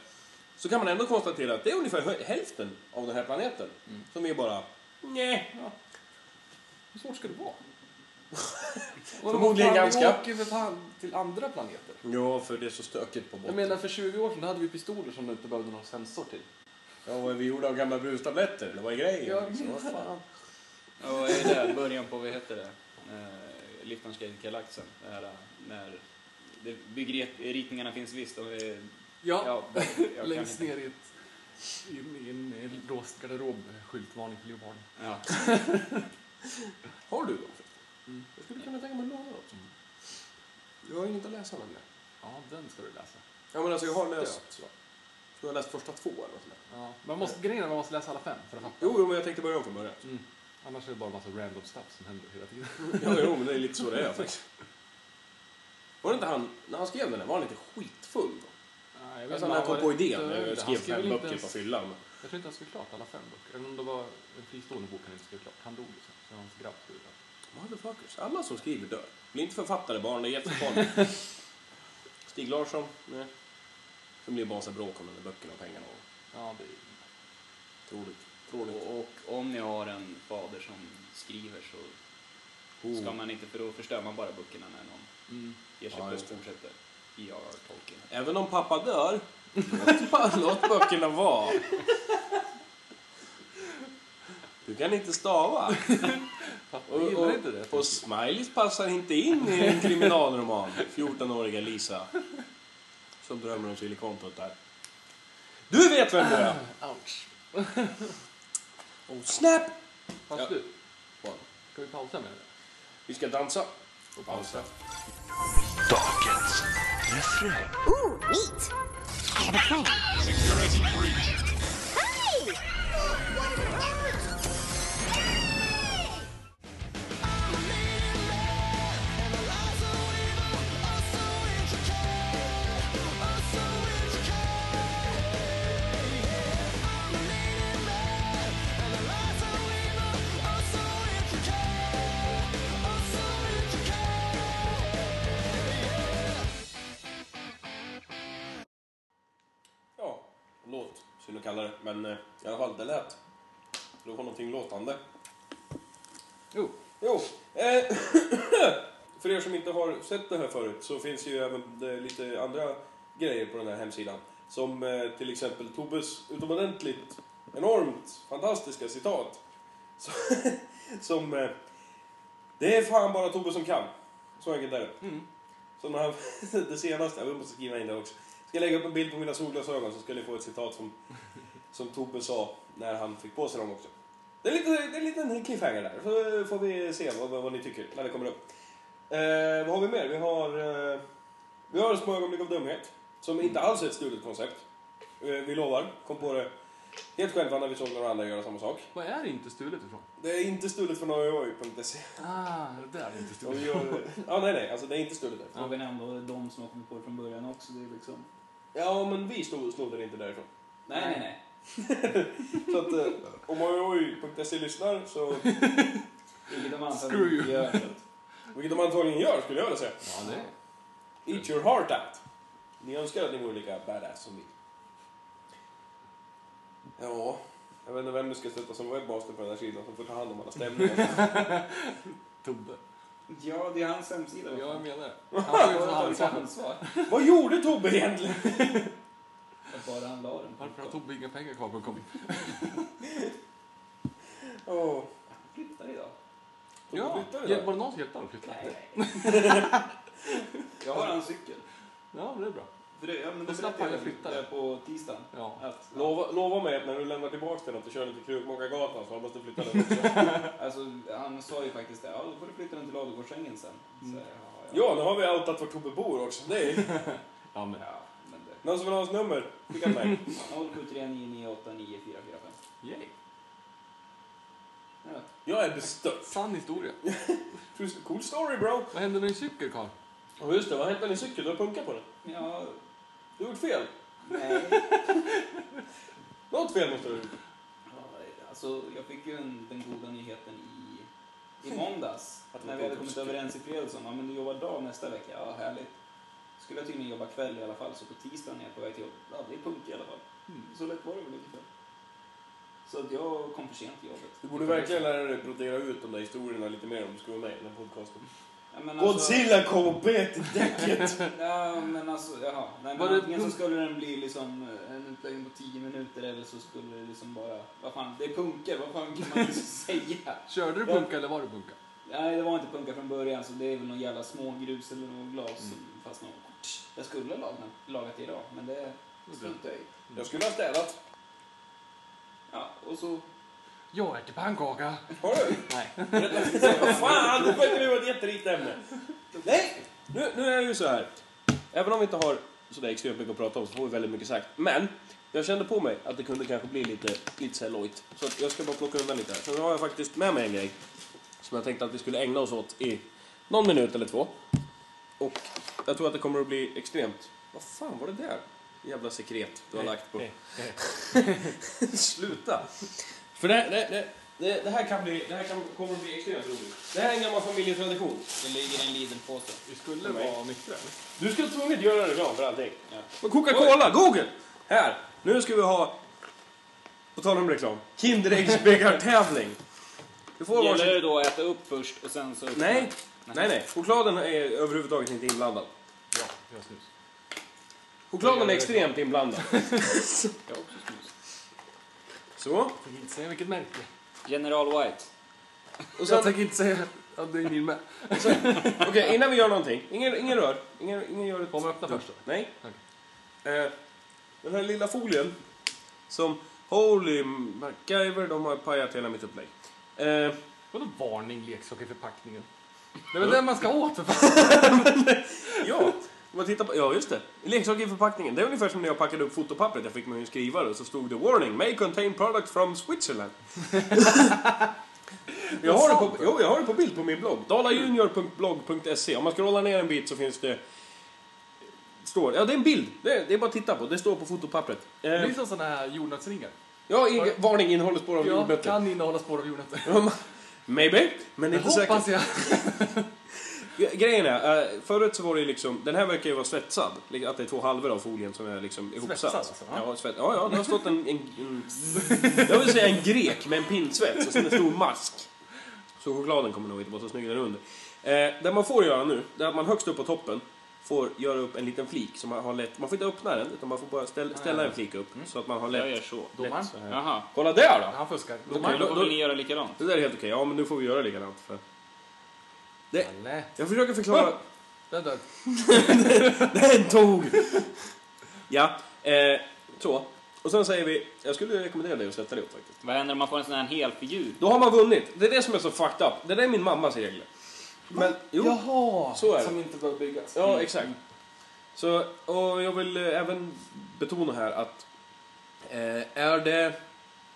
Så kan man ändå konstatera att det är ungefär hö- hälften av den här planeten som är bara, nej. Hur svårt ska det vara? Förmodligen Vad fan, ganska. Vi åker för fan till andra planeter. Ja, för det är så stökigt på Jag botten. menar, för 20 år sedan då hade vi pistoler som du inte behövde någon sensor till. Ja, vad är vi gjorde av gamla brustabletter, eller vad är grejen? Ja, liksom? Vad men- fan? Ja, vad är det? Början på, vad heter det? Eh, Lichtenstein-galaxen. Det här, eh, När det- byggritningarna finns visst. Och, eh, ja, jag Längst kan inte- ner i ett... I en, i en, i en låst garderob, skyltvarning för leoparden. Ja. Har du dem? Jag skulle kunna tänka mig att låna dem. Jag har inget att läsa med. Ja, den ska du läsa. Ja, men alltså jag har läst... Döpt, va? Jag har läst första två eller något sånt där. Ja. Man måste, grejen är att man måste läsa alla fem för att fatta. Jo, jo, men jag tänkte börja om från [LAUGHS] början. Mm. Annars är det bara en massa random stuff som händer hela tiden. Jo, jo, men det är lite så det är faktiskt. Var det inte han, när han skrev den där, var han inte skitfull då? Nej, jag Alltså när han kom på idén, jag när vet han inte. skrev Han skrev fem väl inte böcker på ens- fyllan. Jag tror inte han skrev klart alla fem böcker. Även om det var en fristående bok han inte skrev klart. Han dog ju sen. Så hans grabb skrev klart. Motherfuckers, [LAUGHS] alla som skriver dör. Bli inte författare barn, det är jättefarligt. Stig Larsson, nej. Sen blir det bara massa bråk om de där böckerna och pengarna. Och Ja, det... tråkigt. Tråkigt. Och, och om ni har en fader som skriver så Oh. ska man inte, för då förstör man bara böckerna när någon Mm. ger sig Ja, på och just det. fortsätter. E.R.R. Tolkien. Även om pappa dör, låt, [LAUGHS] pa- låt böckerna vara. Du kan inte stava. Pappa Och, gillar och, inte det. och Smileys passar inte in i en kriminalroman. 14-åriga Lisa. Som drömmer om silikonputtar. Du vet vem du är! Ouch. Och snap! Fast Ja. du, ska vi pausa med det? Vi ska dansa. Och pausa. Ooh, neat. I have a plan. Hey! Ja, låt. Synd att kalla det. Men eh, i alla fall, det lät. Det var någonting låtande. Jo, Jo, eh, [CLEARS THROAT] för er som inte har sett det här förut så finns ju även eh, lite andra grejer på den här hemsidan. Som eh, till exempel Tobbes utomordentligt enormt fantastiska citat. [LAUGHS] Så, som eh, Det är fan bara Tobbe som kan. Så enkelt är det. Som han, [LAUGHS] det senaste, jag måste skriva in det också. Ska jag lägga upp en bild på mina solglasögon så ska ni få ett citat som, som Tobbe sa när han fick på sig dem också. Det är, lite, det är en liten cliffhanger där. Så eh, får vi se vad, vad, vad ni tycker när det kommer upp. Eh, vad har vi mer? Vi har, eh, vi har små ögonblick av dumhet. Som inte alls är ett stulet koncept. Eh, vi lovar. Kom på det helt själva när vi såg några andra göra samma sak. vad är det inte stulet ifrån? Det är inte stulet från oioi.se. Ah, det där är inte Och vi stulet. gör... E. Ja, nej, nej. Alltså det är inte stulet därifrån. Frågan är om då de som har kommit på det från början också. Det är liksom... Ja, men vi stod, stod det inte därifrån. Nej, nej, nej. Så att eh, om oioi.se E lyssnar så... Vilket de Screw you. Ja, vilket de antagligen gör, skulle jag vilja säga. Ja, det är. Eat your heart out. Ni önskar att ni vore lika badass som vi. Ja, jag vet inte vem du ska sätta som webmaster på den här sidan som får ta hand om alla stämningar. Tobbe. Ja, det är hans hemsida. Jag menar det. Han får ju ta ansvar. Vad gjorde Tobbe egentligen? Bara han la den. Varför har Tobbe inga pengar kvar på en kompis? Åh, Flyttar idag. Tobbe flyttade Ja, var idag. det någon som hjälpte honom att flytta? Jag har hans cykel. Ja, det är bra. För det, ja, men Och det så berättade tappade jag jag väl flyttar. där på tisdagen. Ja. Att, Lova, lova mig att när du lämnar tillbaka den att du kör den till Krukmakargatan så hoppas du flyttar den också. alltså, han sa ju faktiskt det. Ja, då får du flytta den till Ladugårdsängen sen. Så, ja, ja. Ja, nu har vi outat var Tobbe bor också. Det är Ja, men. ja, men det. någon som vill ha hans nummer. Skicka till mig. 0739989445. Yay. Ja. Jag är bestört. Sann historia. Cool story bro. Vad hände med din cykel, Karl? Och just det, vad har hänt med din cykel? Du har punkat på den. ja, Du har gjort fel. nej. Något fel måste du ha gjort. Ja, alltså, jag fick ju en, den goda nyheten i, i måndags. Att det när var vi hade på kommit torsdag. överens i fredags om att men du jobbar dag nästa vecka. Ja, härligt. Skulle jag tydligen jobba kväll i alla fall, så på tisdagen är jag på väg till jobb. Ja, det är punkt i alla fall. Mm. Så lätt var det väl ungefär. Så att jag kom för sent till jobbet. Du borde verkligen lära dig brodera ut de där historierna lite mer om du ska vara med i den här podcasten. Ja, men alltså- alltså- Godzilla kom och bet i däcket! Ja, men alltså, jaha. Nej, Var men det antingen så punkt- skulle den bli liksom eh, en utläggning på 10 minuter eller så skulle det liksom bara... Vad fan, det är punker, vad fan kan man [LAUGHS] liksom säga? Körde du punka eller var du punka? Nej, det var inte punka från början så det är väl någon jävla smågrus eller något glas som fastnade. Jag skulle ha lagat, lagat det idag, men det struntade jag i. Jag skulle ha städat. Ja, och så... Jag äter pannkaka. Har du? Nej. Vad fan, nu verkar det vara ett jätterikt ämne. Nej! Nu, nu är det ju så här. Även om vi inte har sådär extremt mycket att prata om så får vi väldigt mycket sagt. Men jag kände på mig att det kunde kanske bli lite, lite så här lojt. Så att jag ska bara plocka undan lite här. Så nu har jag faktiskt med mig en grej som jag tänkte att vi skulle ägna oss åt i någon minut eller två. Och jag tror att det kommer att bli extremt... Vad fan var det där? Jävla [LAUGHS] sekret du har lagt på. Sluta! För det, det, det, Det, det, här kan bli, det här kan, kommer att bli extremt roligt. Det här är en gammal familjetradition. Det ligger en liten påse. Det skulle vara mycket. Du ska tvunget göra reklam för allting. Men Coca-Cola, Oj. Google! Här! Nu ska vi ha, på tal om reklam, Kinderäggsbägartävling. Du får Gäller varsin... det då att äta upp först och sen så... Nej, nej, nej. Chokladen är överhuvudtaget inte inblandad. Ja, jag har snus. Chokladen är extremt inblandad. Jag har också snus. Så. Jag tänker inte säga vilket märke. General White. Och Jag sen tänker inte säga att det är min med. Okej, innan vi gör någonting. Ingen, ingen rör. Ingen, ingen gör ett... Får man öppna först då? Nej. Eh, den här lilla folien som Holy MacGyver, de har pajat hela mitt upplägg. Eh, Vadå varning leksak i förpackningen? Det är väl den man ska åt för fan? ja, om man tittar på, ja, just det. Leksaker i förpackningen. Det är ungefär som när jag packade upp fotopappret. Jag fick mig en skrivare och så stod det Warning, may contain products from [LAUGHS] Switzerland. jag, har det på, jo, jag har det på bild på min blogg. dalajunior.blogg.se. Om man scrollar ner en bit så finns det... Står, ja, det är en bild. Det är, det är bara att titta på. Det står på fotopappret. Det Eh, är som sådana här jordnötsringar. ja, inga, varning, innehåller spår av Ja, jordnötter. kan innehålla spår av jordnötter. [LAUGHS] Maybe, men Det inte säkert. hoppas jag. Grejen är, eh, förut så var det ju liksom, den här verkar ju vara svetsad. Li- Att det är två halvor av folien som är liksom ihopsatt. Svetsad alltså, ja. Ja, svett, ja, ja, det har stått en, en, en, jag vill säga en grek med en pinsvets och sen en stor mask. Så chokladen kommer nog inte vara så snygg där under. Eh, det man får göra nu, det är att man högst upp på toppen får göra upp en liten flik som man har lätt, man får inte öppna den utan man får bara ställa, ställa en flik Mm. upp så att man har Jag lätt. gör så. Domaren? så här. Jaha. Kolla där då! Han fuskar. Okej, Då då- vill ni då- göra likadant. Det där är helt okej, ja men nu får vi göra likadant. För. Det, Kalle. jag försöker förklara. Den dör. Den tog! ja, eh, så. Och sen säger vi, jag skulle rekommendera dig att sätta dig upp faktiskt. Vad händer om man får en sån här hel figur? Då har man vunnit. Det är det som är så fucked up. Det där är min mammas regler. Men, jo. Jaha! så är det. Som inte behöver byggas. Ja, exakt. Så, och jag vill eh, även betona här att eh, är det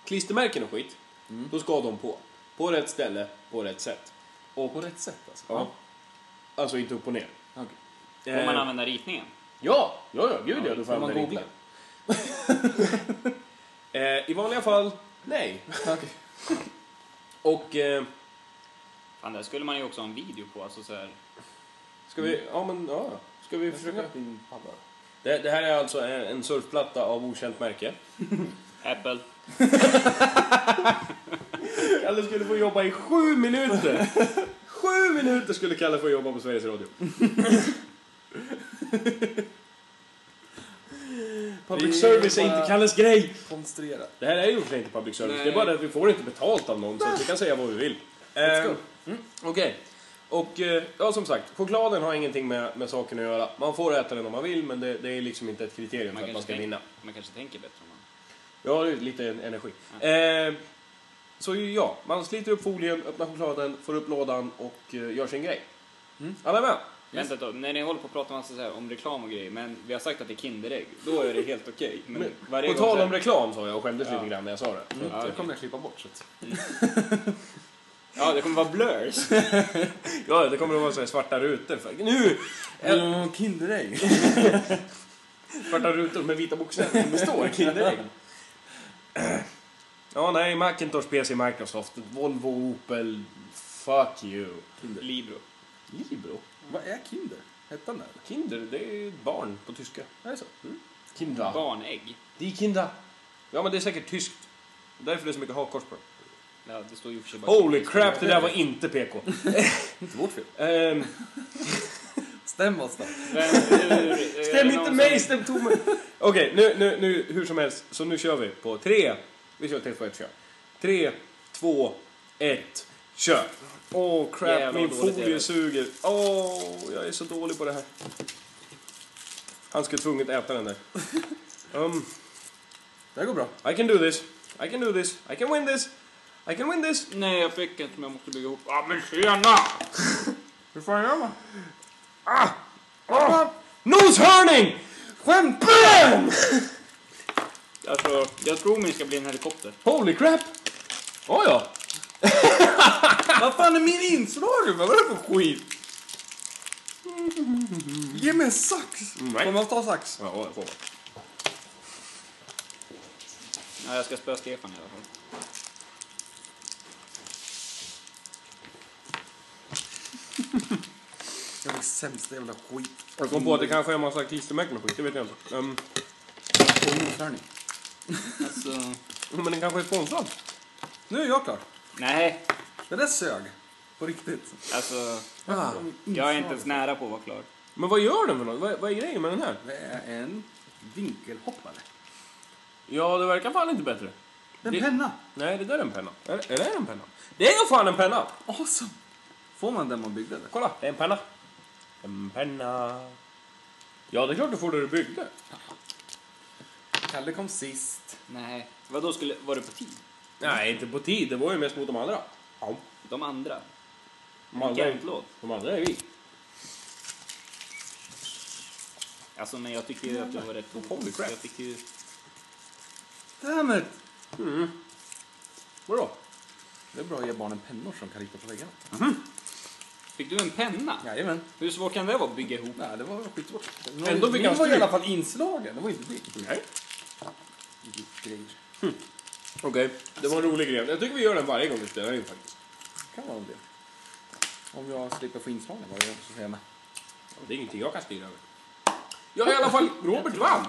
klistermärken och skit, Mm. då ska de på. På rätt ställe, på rätt sätt. Och på rätt sätt alltså. Ja. Alltså inte upp och ner. Okej. Får man Eh, använda ritningen? Ja, ja, ja, gud ja, du får Får man använda googla? ritningen. [LAUGHS] eh, I vanliga fall, nej. Okej. Och eh, Fan, där skulle man ju också ha en video på. Alltså så här. ska vi, ja men ja, ska vi Jag ska försöka? upp din padda. Det, det här är alltså en en surfplatta av okänt märke. Apple. [LAUGHS] Kalle skulle få jobba i sju [LAUGHS] minuter! Sju minuter skulle Kalle få jobba på Sveriges Radio. Public Vi service är bara- inte Kalles grej! Konstruera. Det här är ju i och för sig inte public service, Nej. det är bara det att vi får inte betalt av någon så att vi kan säga vad vi vill. go. Ehm, mm, Okej. Och eh, ja, som sagt, chokladen har ingenting med, med saken att göra. Man får äta den om man vill, men det, det är liksom inte ett kriterium Man för att man kanske, ska vinna. tänker, man kanske tänker bättre om man... Ja, det är lite en- energi. Ehm, så ju, ja, man sliter upp folien, öppnar chokladen, får upp lådan och eh, gör sin grej. Mm. Alla med? Vänta ett tag, när ni håller på att prata massa så här om reklam och grejer, men vi har sagt att det är Kinderägg, då är det helt okej. Men På varje gång så tal här- om reklam sa jag och skämdes Ja. lite grann när jag sa det. Ja, Det okej. kommer jag klippa bort. Så. att- ja, det kommer vara blurs. [LAUGHS] Ja, det kommer att vara så här svarta rutor. För, nu! Eller Kinderägg. Svarta rutor med vita bokstäver som det står Kinderägg. Ja, nej, Macintosh, PC, Microsoft, Volvo, Opel, fuck you. Libro. Libro? Vad är Kinder? Hette han det? eller? Kinder, det är barn på tyska. Mm. Är det så? Kinda. Barnägg. Die Kinder. Ja, men det är säkert tyskt. Därför är det så mycket hakkors på det. Ja, det står ju i och för sig bara Holy crap, det där var inte PK. Inte vårt fel. Ehm, Stäm oss då. [LAUGHS] Vem- hur- är det stäm någon inte som- mig, stäm Tommy. Okej, nu, nu, nu, hur som helst. Så nu kör vi på tre. Vi kör tre, två, ett, kör. Tre, två, ett, kör. Åh, crap, Jävlar, min vad dåligt det är. folie suger. Åh, jag är så dålig på det här. Han skulle tvunget äta den [LAUGHS] där. Um, Det här går bra. I can do this. I can do this. I can win this. I can win this. Nej, jag fick inte, men jag måste bygga ihop. Ja, men tjena! Hur fan gör man? Ah, noshörning! Skämt! Bam! Alltså, jag tror min ska bli en helikopter. Holy crap! Oh, ja. Vad fan är min inslag? Vad är det för skit? Ge mig en sax! Mm, Nej. Får man ta sax? Ja, det får man. Ja, jag ska spöa Stefan i alla fall. Det är det sämsta jävla skit. Jag kom på att det kanske är en massa klistermärken och skit, det vet jag inte. Ehm, Och noshörning. Alltså, men den kanske är sponsrad? Nu är jag klar. nej, Det där sög. På riktigt. alltså Ah, jag är inte ens nära på att vara klar. Men vad gör den för något? Vad, vad är grejen med den här? det är en vinkelhoppare. Ja, det verkar fan inte bättre. En Det- penna. Nej, det där är en penna. Är, är det en penna? Det är ju fan en penna! Awesome. Får man den man byggde eller? Kolla, det är en penna. En penna. Ja, det är klart du får det du byggde. Kalle kom sist. Nej, vadå skulle, var det på tid? Nej, inte på tid. Det var ju mest mot de andra. Ja. De andra? De andra, är- Gant-låt? de andra är vi. Alltså men jag tycker ju att det var rätt holy crap. Jag tycker ju, Damn it. Vadå? Det är bra att ge barnen pennor som kan rita på väggarna. fick du en penna? Jajamän. Hur svårt kan det vara att bygga ihop? Nej, det var skitsvårt. Ändå fick Min han var i stryk. alla fall inslagen. Det var inte din. Nej. Okej, det var en rolig grej. Jag tycker vi gör den varje gång vi spelar in faktiskt. kan vara en del. Om jag slipper få inslagen varje gång så säger jag med. Det är ingenting jag kan styra över. Ja, i alla fall, Robert vann!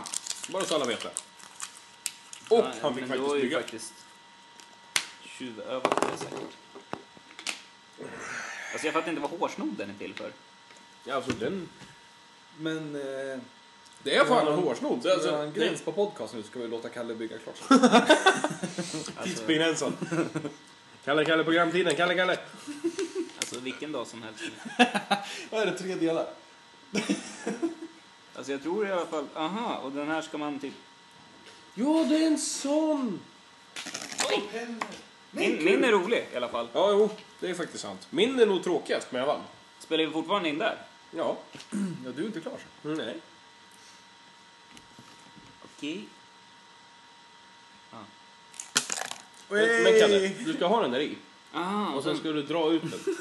Bara så alla vet det. Och Nej, han fick men då faktiskt är ju bygga. faktiskt tjuvövat på det säkert. Alltså jag fattar inte vad hårsnodden är till för. Ja, Alltså, den... Men... Eh, Det är fan Ja, en hårsnodd. Det är Ska vi ha Alltså, en det är gräns på podcast nu ska vi låta Kalle bygga [LAUGHS] klart. Alltså, tidsbegränsad. Kalle, Kalle, programtiden. Kalle, Kalle. alltså vilken dag som helst. Vad är det, tre delar? Alltså jag tror i alla fall, aha, och den här ska man typ... Ja, det är en sån! Min, min är rolig i alla fall. Ja, jo, det är faktiskt sant. Min är nog tråkigast, men jag vann. Spelar vi fortfarande in där? Ja. Ja, du är inte klar sen. Mm, Nej. Okej. Men, men Kalle, du ska ha den där i. Aha, Och sen ska du dra ut den.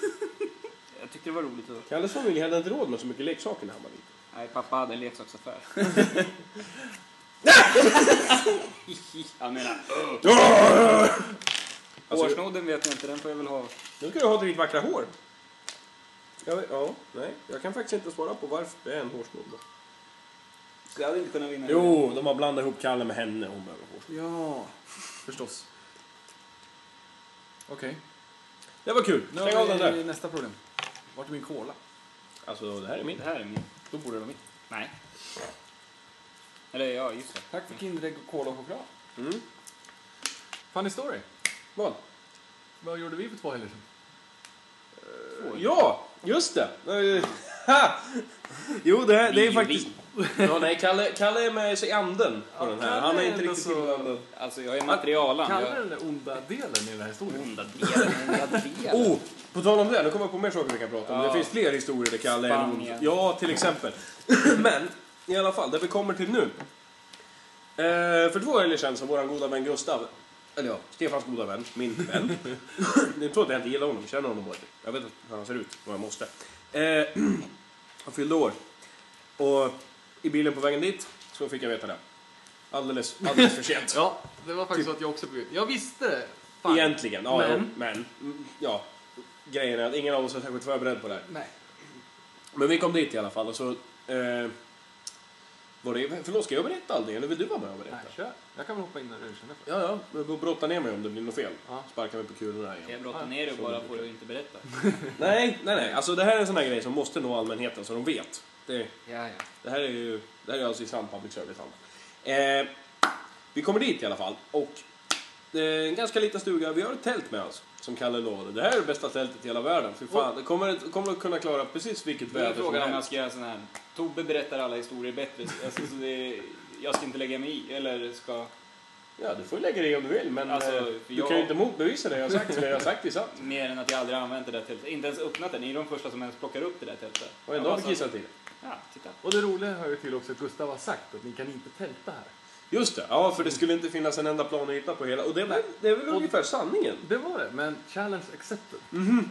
jag tyckte det var roligt att... Kalle sa familj hade inte råd med så mycket leksaker när han var liten. Nej, pappa hade en [LAUGHS] leksaksaffär. jag menar, Alltså, hårsnodden vet jag inte, den får jag väl ha. nu ska du ha till ditt vackra hår. Ja, ja, nej. Jag kan faktiskt inte svara på varför det är en hårsnodd. då. Så jag hade inte kunnat vinna. det. Jo, de har blandat ihop Kalle med henne. Hon behöver hårsnodd. Ja, förstås. Okej, Det var kul. nu Stäng av den har vi där. nästa problem. Vart är min cola? Alltså, det här är min. Det här är min. Då borde det vara min. Nej. Eller ja, just det. Tack för Kinderägg, och cola och choklad. Mm. Funny story. Vad? Vad gjorde vi för två helger sedan? Ja, just det. Eh, ha. jo, det, här- det är Vi, faktiskt... Ja, nej, Kalle, Kalle är med sig i anden på den här. Han är Kalle är inte ändå riktigt så- inblandad. Alltså jag är materialan. Kallar Jag... Mm. du den där onda delen i den här historien? Onda delen, [LAUGHS] onda delen. Oh, på tal om det, nu kommer jag på mer saker vi kan prata om. Ja. Det finns fler historier där Kalle är en Spanien. Ja, till exempel. [CLEARS THROAT] Men, i alla fall, det vi kommer till nu. Eh, för två helger sedan så vår goda vän Gustav, eller ja, Stefans goda vän, min [LAUGHS] vän. Ni tror att jag inte gillar honom, känner honom bara. Jag vet hur han ser ut, vad jag måste. Eh, [CLEARS THROAT] han fyllde år. Och i bilen på vägen dit så fick jag veta det. Alldeles, alldeles för [LAUGHS] sent. Ja, det var faktiskt så att jag också blev... Jag visste det! Fan. Egentligen, ja, Men- men. men mm, ja, grejen är att ingen av oss var särskilt förberedd på det här. Nej. Men vi kom dit i alla fall och så... Eh, var det, förlåt, ska jag berätta allting eller vill du vara med och berätta? Nej, kör. Jag kan väl hoppa in när du känner för det. Ja, ja, men då brotta ner mig om det blir något fel. Ja. Sparka mig på kulorna igen. Jag brottar ner det bara för att inte berätta. Nej, nej, nej. Alltså det här är en sån här grej som måste nå allmänheten så de vet. Det, Ja, ja. det här är ju det här är alltså i sann public service hand. eh, Vi kommer dit i alla fall och det är en ganska liten stuga. Vi har ett tält med oss som Kalle lovade. Det här är det bästa tältet i hela världen. Fy fan, det kommer, kommer att kunna klara precis vilket Nu är väder som frågan om jag helst. ska göra sån här. Tobbe berättar alla historier bättre. Alltså, så det är... Jag ska inte lägga mig i, eller ska... Ja, du får lägga dig i om du vill men Alltså, eh, för du jag- kan ju inte motbevisa det jag har sagt för det jag har sagt är sant. Mer än att jag aldrig använt det där tältet. Inte ens öppnat det. Ni är de första som ens plockar upp det där tältet. Och ändå har vi Jag bara sa- kissat i det. Ja, titta. Och det roliga hör ju till också att Gustav har sagt att ni kan inte tälta här. Just det, ja för det skulle inte finnas en enda planyta på hela. Och det, var, det är väl ungefär sanningen. Det var det, men challenge accepted.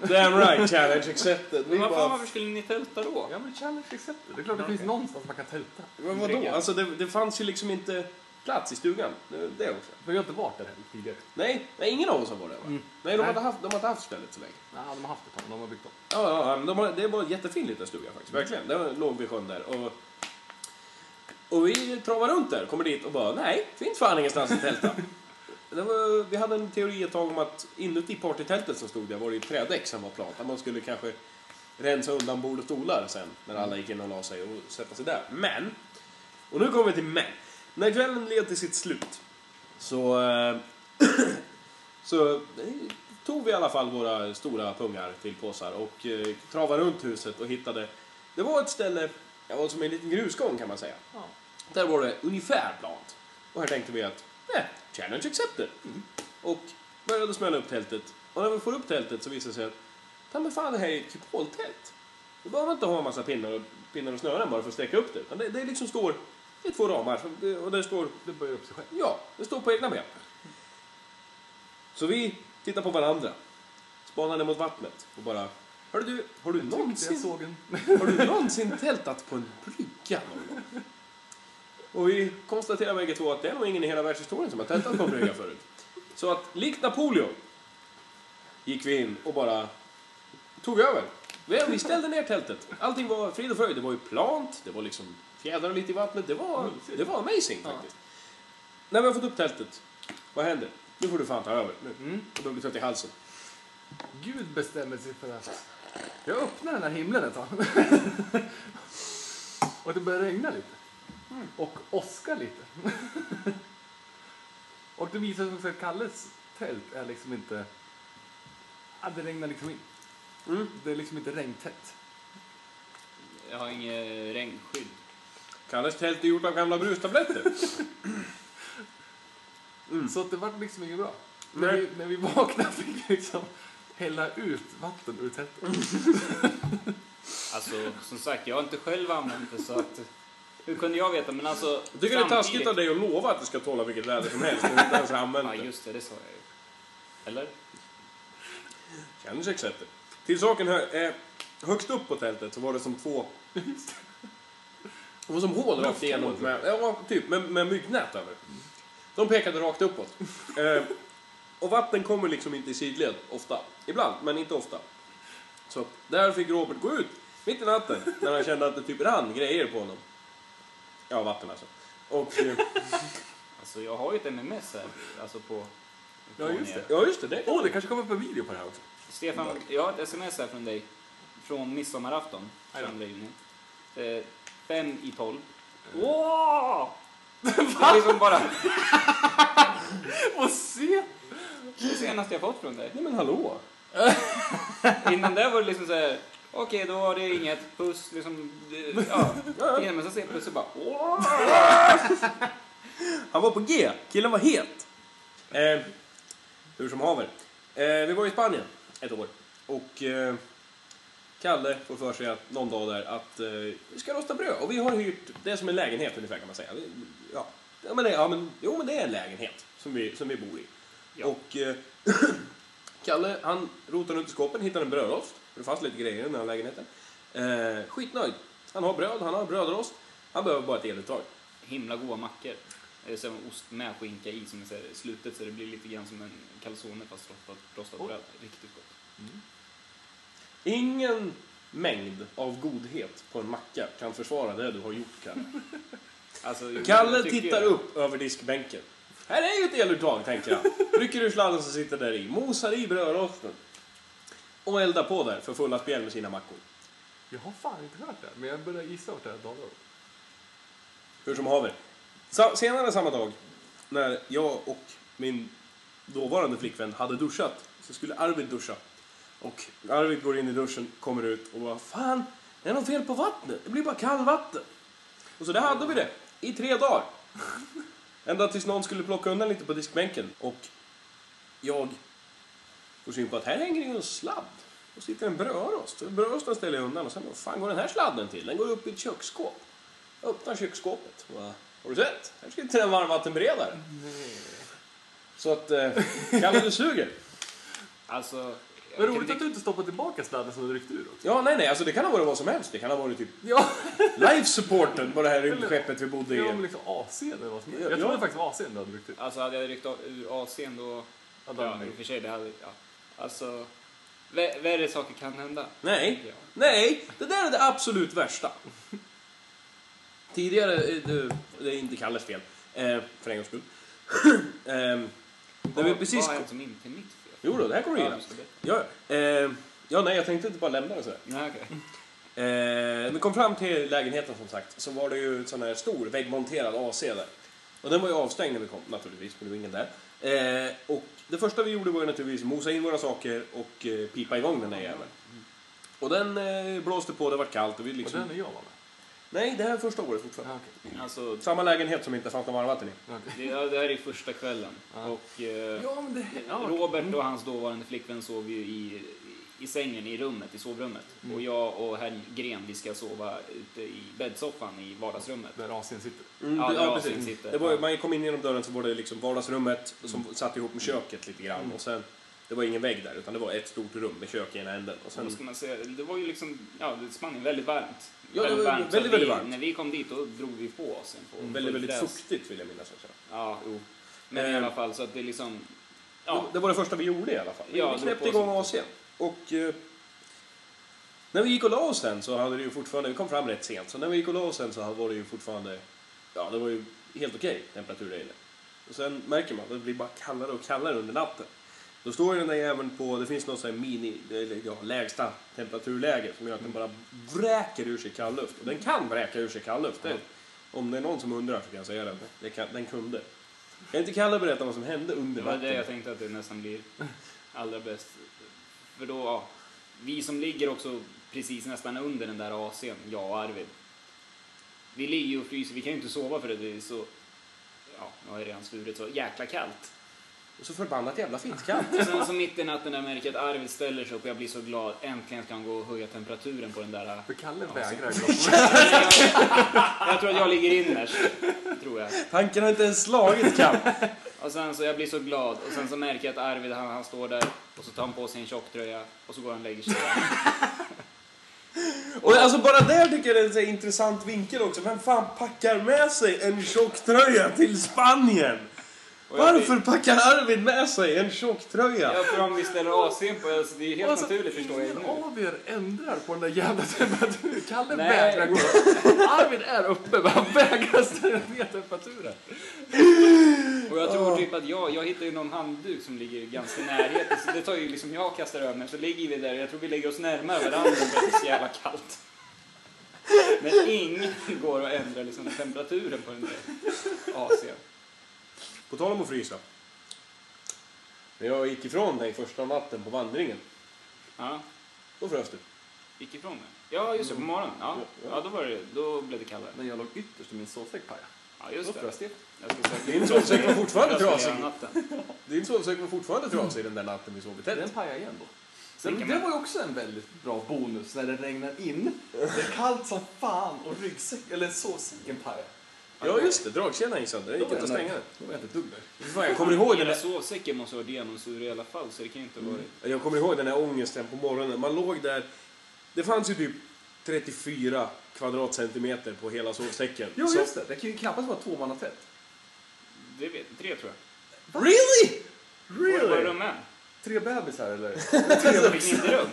Damn right, challenge accepted. Vi Men varför, bara, varför skulle ni tälta då? Ja, men challenge accepted. Det är klart det finns någonstans man kan tälta. men vadå? Alltså det, det fanns ju liksom inte... plats i stugan. Det, det också. Vi har ju inte varit där heller tidigare. Nej, nej, ingen av oss har varit där va? Mm. Nej, de Nej. hade haft, de hade haft stället så länge. Nej, de har haft ett tag. De har byggt upp. Ja, ja, ja, men de har, det var en jättefin liten stuga faktiskt. Verkligen. Den låg vid sjön där. Och, och vi travade runt där, kommer dit och bara nej, finns fan ingenstans att tälta. Det var, vi hade en teori ett tag om att inuti partytältet som stod där var det ju ett trädäck som var plant. Där man skulle kanske rensa undan bord och stolar sen när alla gick in och la sig och sätta sig där. Men, och nu kommer vi till men. När kvällen led till sitt slut så, eh, [CLEARS THROAT] så eh, tog vi i alla fall våra stora pungar till påsar och eh, travade runt huset och hittade, det var ett ställe, det var som en liten grusgång kan man säga. Där var det ungefär plant. Och här tänkte vi att, nej, challenge accepted. Och började smälla upp tältet. Och när vi får upp tältet så visar det sig att, ta men fan det här är ett kupoltält. Då behöver man inte ha en massa pinnar och, pinnar och snören bara för att sträcka upp det. Utan det, det liksom står, det är två ramar som- det- och där står Det börjar upp sig själv. Ja, det står på egna ben. Så vi tittar på varandra, spanar ner mot vattnet och bara... Hör du, har du, Jag någonsin, såg en... har du någonsin tältat på en brygga någon gång? Och vi konstaterar bägge två att det är nog ingen i hela världshistorien som har tältat på en brygga förut. Så att likt Napoleon gick vi in och bara tog över. Vi- Vi ställde ner tältet. Allting var frid och fröjd. Det var ju plant, det var liksom fjädrar lite i vattnet. Det var, det var amazing faktiskt. När vi har fått upp tältet, vad händer? Nu får du fan ta över. Nu. Mm. Och då blir trött i halsen. Gud bestämmer sig för att jag öppnar den här himlen [LAUGHS] ett tag. och det börjar regna lite. Och åska lite. [LAUGHS] och det visar sig också att Kalles tält är liksom inte... Ja, det regnar liksom in. Det är liksom inte regntätt. Jag har inget regnskydd. Kalles tält är gjort av gamla brustabletter. Så att det vart liksom inget bra. Nej. När vi, när vi vaknade fick vi liksom hälla ut vatten ur tältet. Alltså, som sagt, jag har inte själv använt det så att... Hur kunde jag veta? Men alltså... Jag tycker det är taskigt av samtidigt- dig att lova att du ska tåla vilket väder som helst och inte ens använda Ja, det. just det, det sa jag ju. Eller? Känns accepted. Till saken hör, eh, högst upp på tältet så var det som två... Det var som hål rakt igenom. Med, ja, typ. Med, med myggnät över. De pekade rakt uppåt. Eh, och vatten kommer liksom inte i sidled ofta. Ibland, men inte ofta. Så där fick Robert gå ut mitt i natten när han kände att det typ rann grejer på honom. Ja, vatten alltså. Och... Eh, Alltså, jag har ju ett MMS här. Alltså på... Ja, just det. ja, just det. det Åh, oh, det kanske kommer upp en video på det här också. Stefan, jag har ett sms här från dig. Från midsommarafton, då. 2 juni. Eh, fem i tolv. Mm. [LAUGHS] Wow! Det är liksom bara Och se! det senaste jag fått från dig. Nej, men hallå! Innan det var det liksom såhär, okej då var det inget, puss liksom. det- Ja. Men sen ser jag plötsligt bara, åh. Han var på G. Killen var het. Eh, hur som haver. Eh, vi var i Spanien ett år. Och eh, Kalle får för sig att någon dag där att eh, vi ska rosta bröd. Och vi har hyrt, det är som en lägenhet ungefär kan man säga. Ja, ja, men, det, ja men, jo men det är en lägenhet som vi, som vi bor i. Och eh, [CLEARS THROAT] Kalle han rotar runt i skåpen, hittar en brödrost. För det fanns lite grejer i den här lägenheten. Eh, skitnöjd. Han har bröd, han har brödrost. Han behöver bara ett eluttag. himla goda mackor. Eh, Sen var ost med skinka i som är så här slutet så det blir lite grann som en calzone fast rostat, rostat bröd. Riktigt gott. Ingen mängd av godhet på en macka kan försvara det du har gjort, Kalle. Alltså, jag- Kalle jag tycker- tittar upp över diskbänken. Här är ju ett eluttag, tänker han. Rycker ur sladden som sitter där i, mosar i brödrosten och eldar på där för fulla spjäll med sina mackor. Jag har fan inte hört det, men jag börjar gissa vart det här dalar åt. Hur som haver. Sa- Senare samma dag, när jag och min dåvarande flickvän hade duschat, så skulle Arvid duscha. Och Arvid går in i duschen, kommer ut och bara Fan, det är något fel på vattnet. Det blir bara kallvatten. Och så där hade vi det, i tre dagar. [LAUGHS] Ända tills någon skulle plocka undan lite på diskbänken. Och jag får syn på att här hänger ju en sladd. Och sitter en brödrost. Brödrosten ställer jag undan och sen, vad fan går den här sladden till? Den går upp i ett köksskåp. Jag öppnar köksskåpet. Och bara, har du sett? Här ska inte en varmvattenberedare. Så att, eh, Kalle du suger. Alltså, Vad roligt att du inte stoppar tillbaka sladden som du ryckte ur också. Ja, nej, nej, alltså det kan ha varit vad som helst. Det kan ha varit typ Ja, life supporten på det här rymdskeppet vi bodde ja men i. liksom AC eller vad som helst. Ja, Jag ja. trodde faktiskt det var AC du hade ryckt ur. Alltså hade jag ryckt av- ur AC'n då... Hade han Ja, i och ryckt. för sig, det hade... Ja. Alltså... vä- Värre saker kan hända. Nej, nej, det där är det absolut värsta. Tidigare, eh, det- det är inte Kalles fel, eh, för en gångs skull. [CLEARS THROAT] Ehm, när vi Vad- precis... Vad har hänt som inte är mitt fel? Jo då, det här kommer du Ja, gilla. just det. Ja, eh, ja, nej, jag tänkte inte bara lämna det sådär. Nej, okej. Eh, när vi kom fram till lägenheten som sagt så var det ju en sån här stor väggmonterad AC där. Och den var ju avstängd när vi kom naturligtvis, för det var ingen där. Eh, och det första vi gjorde var ju naturligtvis mosa in våra saker och eh, pipa igång den där jäveln. Och den eh, blåste på, det var kallt och vi Och liksom... den är jag var med. Nej, det här är första året fortfarande. Ja, okej. Alltså, Samma lägenhet som inte fanns något varmvatten i. det, ja, det här är första kvällen. Och eh, Ja, men det... Ja, okej. Robert och hans dåvarande flickvän sov ju i, i sängen i rummet, i sovrummet. Mm. Och jag och Hellgren, vi ska sova ute i bäddsoffan i vardagsrummet. Där AC'n sitter. Mm, Ja, det- där AC'n sitter. Det var, ju- man kom in genom dörren så var det liksom vardagsrummet som satt ihop med köket lite grann. Och sen, det var ingen vägg där utan det var ett stort rum med kök i ena änden. Och sen, Vad ska man säga? Det var ju liksom, ja, det spann ju väldigt varmt. Ja, det var Så väldigt, vi, väldigt varmt. Mm. När vi kom dit då drog vi på oss en på Väldigt, väldigt fräs. fuktigt vill jag minnas också. Ja, jo. Men i Eh. alla fall så att det liksom, ja, Det- Det var det första vi gjorde i alla fall. Vi, Ja, vi det knäppte var på igång oss. AC'n. Och eh, när vi gick och la oss sen så hade det ju fortfarande, vi kom fram rätt sent, så när vi gick och la oss sen så var det ju fortfarande, ja det var ju helt okej temperatur där inne. Och sen märker man att det blir bara kallare och kallare under natten. Då står ju den där jäveln på, det finns någon sån här mini, eller ja, lägsta temperaturläge som gör att den bara vräker ur sig kallluft. Och den kan vräka ur sig kallluft. Det, om det är någon som undrar så kan jag säga det. det kan, den kunde. Kan inte Kalle berätta vad som hände under det var natten? det jag tänkte att det nästan blir allra bäst. För då, ja, vi som ligger också precis nästan under den där AC'n, jag och Arvid. Vi ligger ju och fryser, vi kan ju inte sova för det, det är så, ja, nu har jag redan svurit så jäkla kallt. Och så förbannat jävla fint kallt. Sen så mitt i natten när jag märker att Arvid ställer sig upp och jag blir så glad. Äntligen ska han gå och höja temperaturen på den där. För Kalle vägrar [LAUGHS] gå Jag tror att jag ligger innerst. Tror jag. [LAUGHS] Tanken har inte ens slagit kallt. Och sen så jag blir så glad och sen så märker jag att Arvid han, han står där och så tar han på sig en tjocktröja och så går han och lägger sig. Och alltså bara där tycker jag det är en så här intressant vinkel också. Vem fan packar med sig en tjocktröja till Spanien? Och jag Varför packar Arvid med sig en tjocktröja? Jag tror om vi ställer AC'n på oss, det är helt Alltså, naturligt förstår jag ju ingen nu. av er ändrar på den där [LAUGHS] jävla temperaturen. Kalle Nej. vägrar gå upp. Arvid är uppe men han vägrar ställa ner temperaturen. Och jag tror typ att jag, jag hittar ju någon handduk som ligger ganska i närheten så det tar ju liksom jag och kastar över mig så ligger vi där jag tror vi lägger oss närmare varandra för att det är så jävla kallt. Men ingen går att ändra liksom temperaturen på den där AC'n. På tal om att frysa. När jag gick ifrån dig första natten på vandringen, Ja, då frös du. gick ifrån mig. Ja, just det, på morgonen. Ja, ja då, var det, då blev det kallare. Men jag låg ytterst i min sovsäck pajade. Ja, just Bra, det. Stefan. Jag ska säga- Din sovsäck var fortfarande jag ska göra trasig. natten. Din sovsäck var fortfarande trasig den där natten vi sov i Den tält. pajade igen då. Sen kan det man- var ju också en väldigt bra bonus när det regnar in. Det är kallt som fan och ryggsäck, eller sovsäcken pajar. Ja just det, dragkedjan gick sönder. Det Då gick var inte jag att nöjd. stänga den. Då var jag inte dugg nöjd. Fy fan, Jag kommer ihåg den Hela där sovsäcken måste vara genomsur i alla fall så det kan ju inte ha varit... Jag kommer ihåg den här ångesten på morgonen. Man låg där. Det fanns ju typ 34 kvadratcentimeter på hela sovsäcken. Jo, Så- just det. Det kan ju knappast vara tvåmannatält. Det vet, tre tror jag. Really? Var var Really? de med? Tre bebisar [LAUGHS] eller? Fick ni inte rum?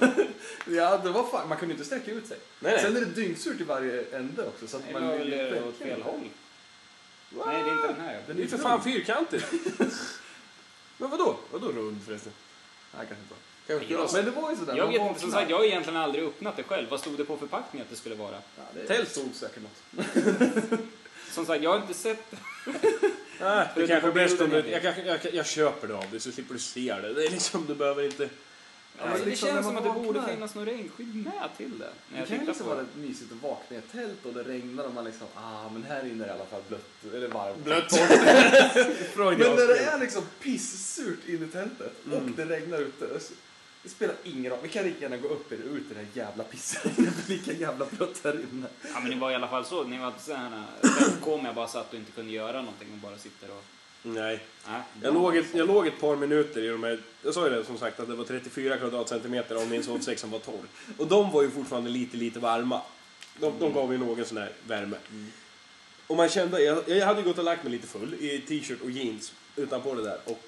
ja, det var fan. Man kunde inte sträcka ut sig. Nej, nej. Sen är det dyngsurt i varje ände också. Så att Eller man var vill ju det åt verkligen- fel håll? Nej, det är inte den här. Det är ju för fan [LAUGHS] fyrkantigt. Men vadå? Vadå rund förresten? Nej, kanske inte. Kanske skulle ha Men det var ju sådär. Jag man vet vaknar. inte, som sagt, jag har egentligen aldrig öppnat det själv. Vad stod det på förpackningen att det skulle vara? Ja, det Tält. stod säkert något. Som sagt, jag har inte sett Nej, det Förutom kanske är på bäst om bilden du... här. Jag, kanske- jag, jag, jag köper det av dig så slipper du se det. Det är liksom, du behöver inte... Ja, men det liksom, känns när som man att det borde vaknar- finnas något regnskydd med till det. När Det jag kan ju tittar liksom på vara det. rätt mysigt att vakna i ett tält och det regnar och man liksom, ah men här inne är det i alla fall blött, eller varmt. Blött. [LAUGHS] Men Freudiansk. när det är liksom pissurt inne i tältet Mm. och det regnar ute. det s- Det spelar ingen roll, vi kan lika gärna gå upp eller ut i det här jävla pisset. [LAUGHS] Det blir lika jävla blött här inne. Ja, men det var i alla fall så. Ni var inte så här... Sen kom jag bara satt och inte kunde göra någonting och bara sitter och... Nej. Nej, Jag låg, ett, jag låg ett par minuter i de här... Jag sa ju det som sagt att det var 34 kvadratcentimeter om min sovsäck som var torr. Och de var ju fortfarande lite, lite varma. De, de gav ju någon sån här värme. Och man kände... Jag, jag hade ju gått och lagt mig lite full i t-shirt och jeans utanpå det där. Och,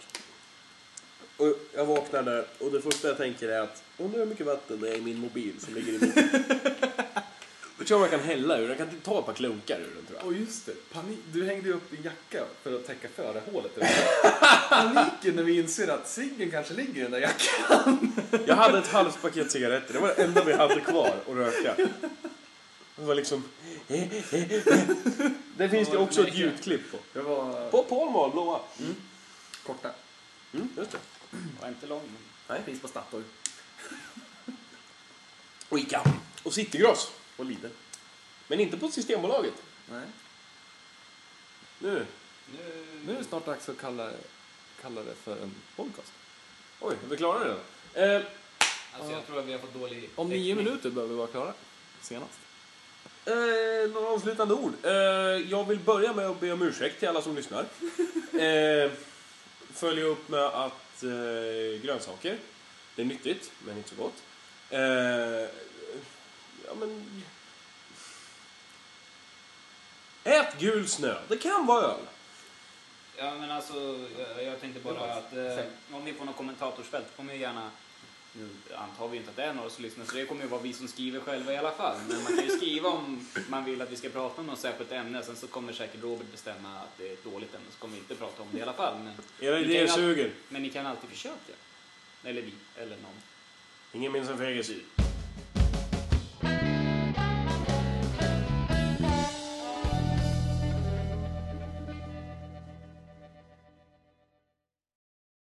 och jag vaknar där och det första jag tänker är att undrar hur mycket vatten det är i min mobil som ligger i min... Jag tror man kan hälla ur den. Jag kan ta ett par klunkar ur den tror jag. Och just det, panik. du hängde ju upp din jacka för att täcka [LAUGHS] förarhålet. Paniken när vi inser att ciggen kanske ligger i den där jackan. Jag hade ett halvt paket cigaretter, det var det enda vi hade kvar att röka. Det var liksom... Det finns det också ett ljudklipp på. Det var På Pall Mall, blåa. korta. Mm, just det. var inte lång. men- Nej. Finns på Statoil. Och Ica. Och Citygross. Och Lidl. Men inte på Systembolaget. Nej. Nu. Nu är det snart dags att kalla, kalla det för en podcast. Oj, vi klarade det då. Eh, Alltså jag tror att vi har fått dålig Om täckning. nio minuter bör vi vara klara. Senast. eh, några avslutande ord. Eh, jag vill börja med att be om ursäkt till alla som lyssnar. Eh, följa upp med att eh, grönsaker, det är nyttigt, men inte så gott. Eh, ja, men... Ät gul snö. Det kan vara öl. Ja men alltså jag, jag tänkte bara att eh, om ni får något kommentatorsfält kommer ju gärna nu antar vi inte att det är några som lyssnar så det kommer ju vara vi som skriver själva i alla fall. Men man kan ju skriva om man vill att vi ska prata om något särskilt ämne. Sen så kommer säkert Robert bestämma att det är ett dåligt ämne så kommer vi inte prata om det i alla fall. Men, Era ni kan idéer ju all- suger. men ni kan alltid försöka. Eller vi, eller någon. Ingen minns en fegis.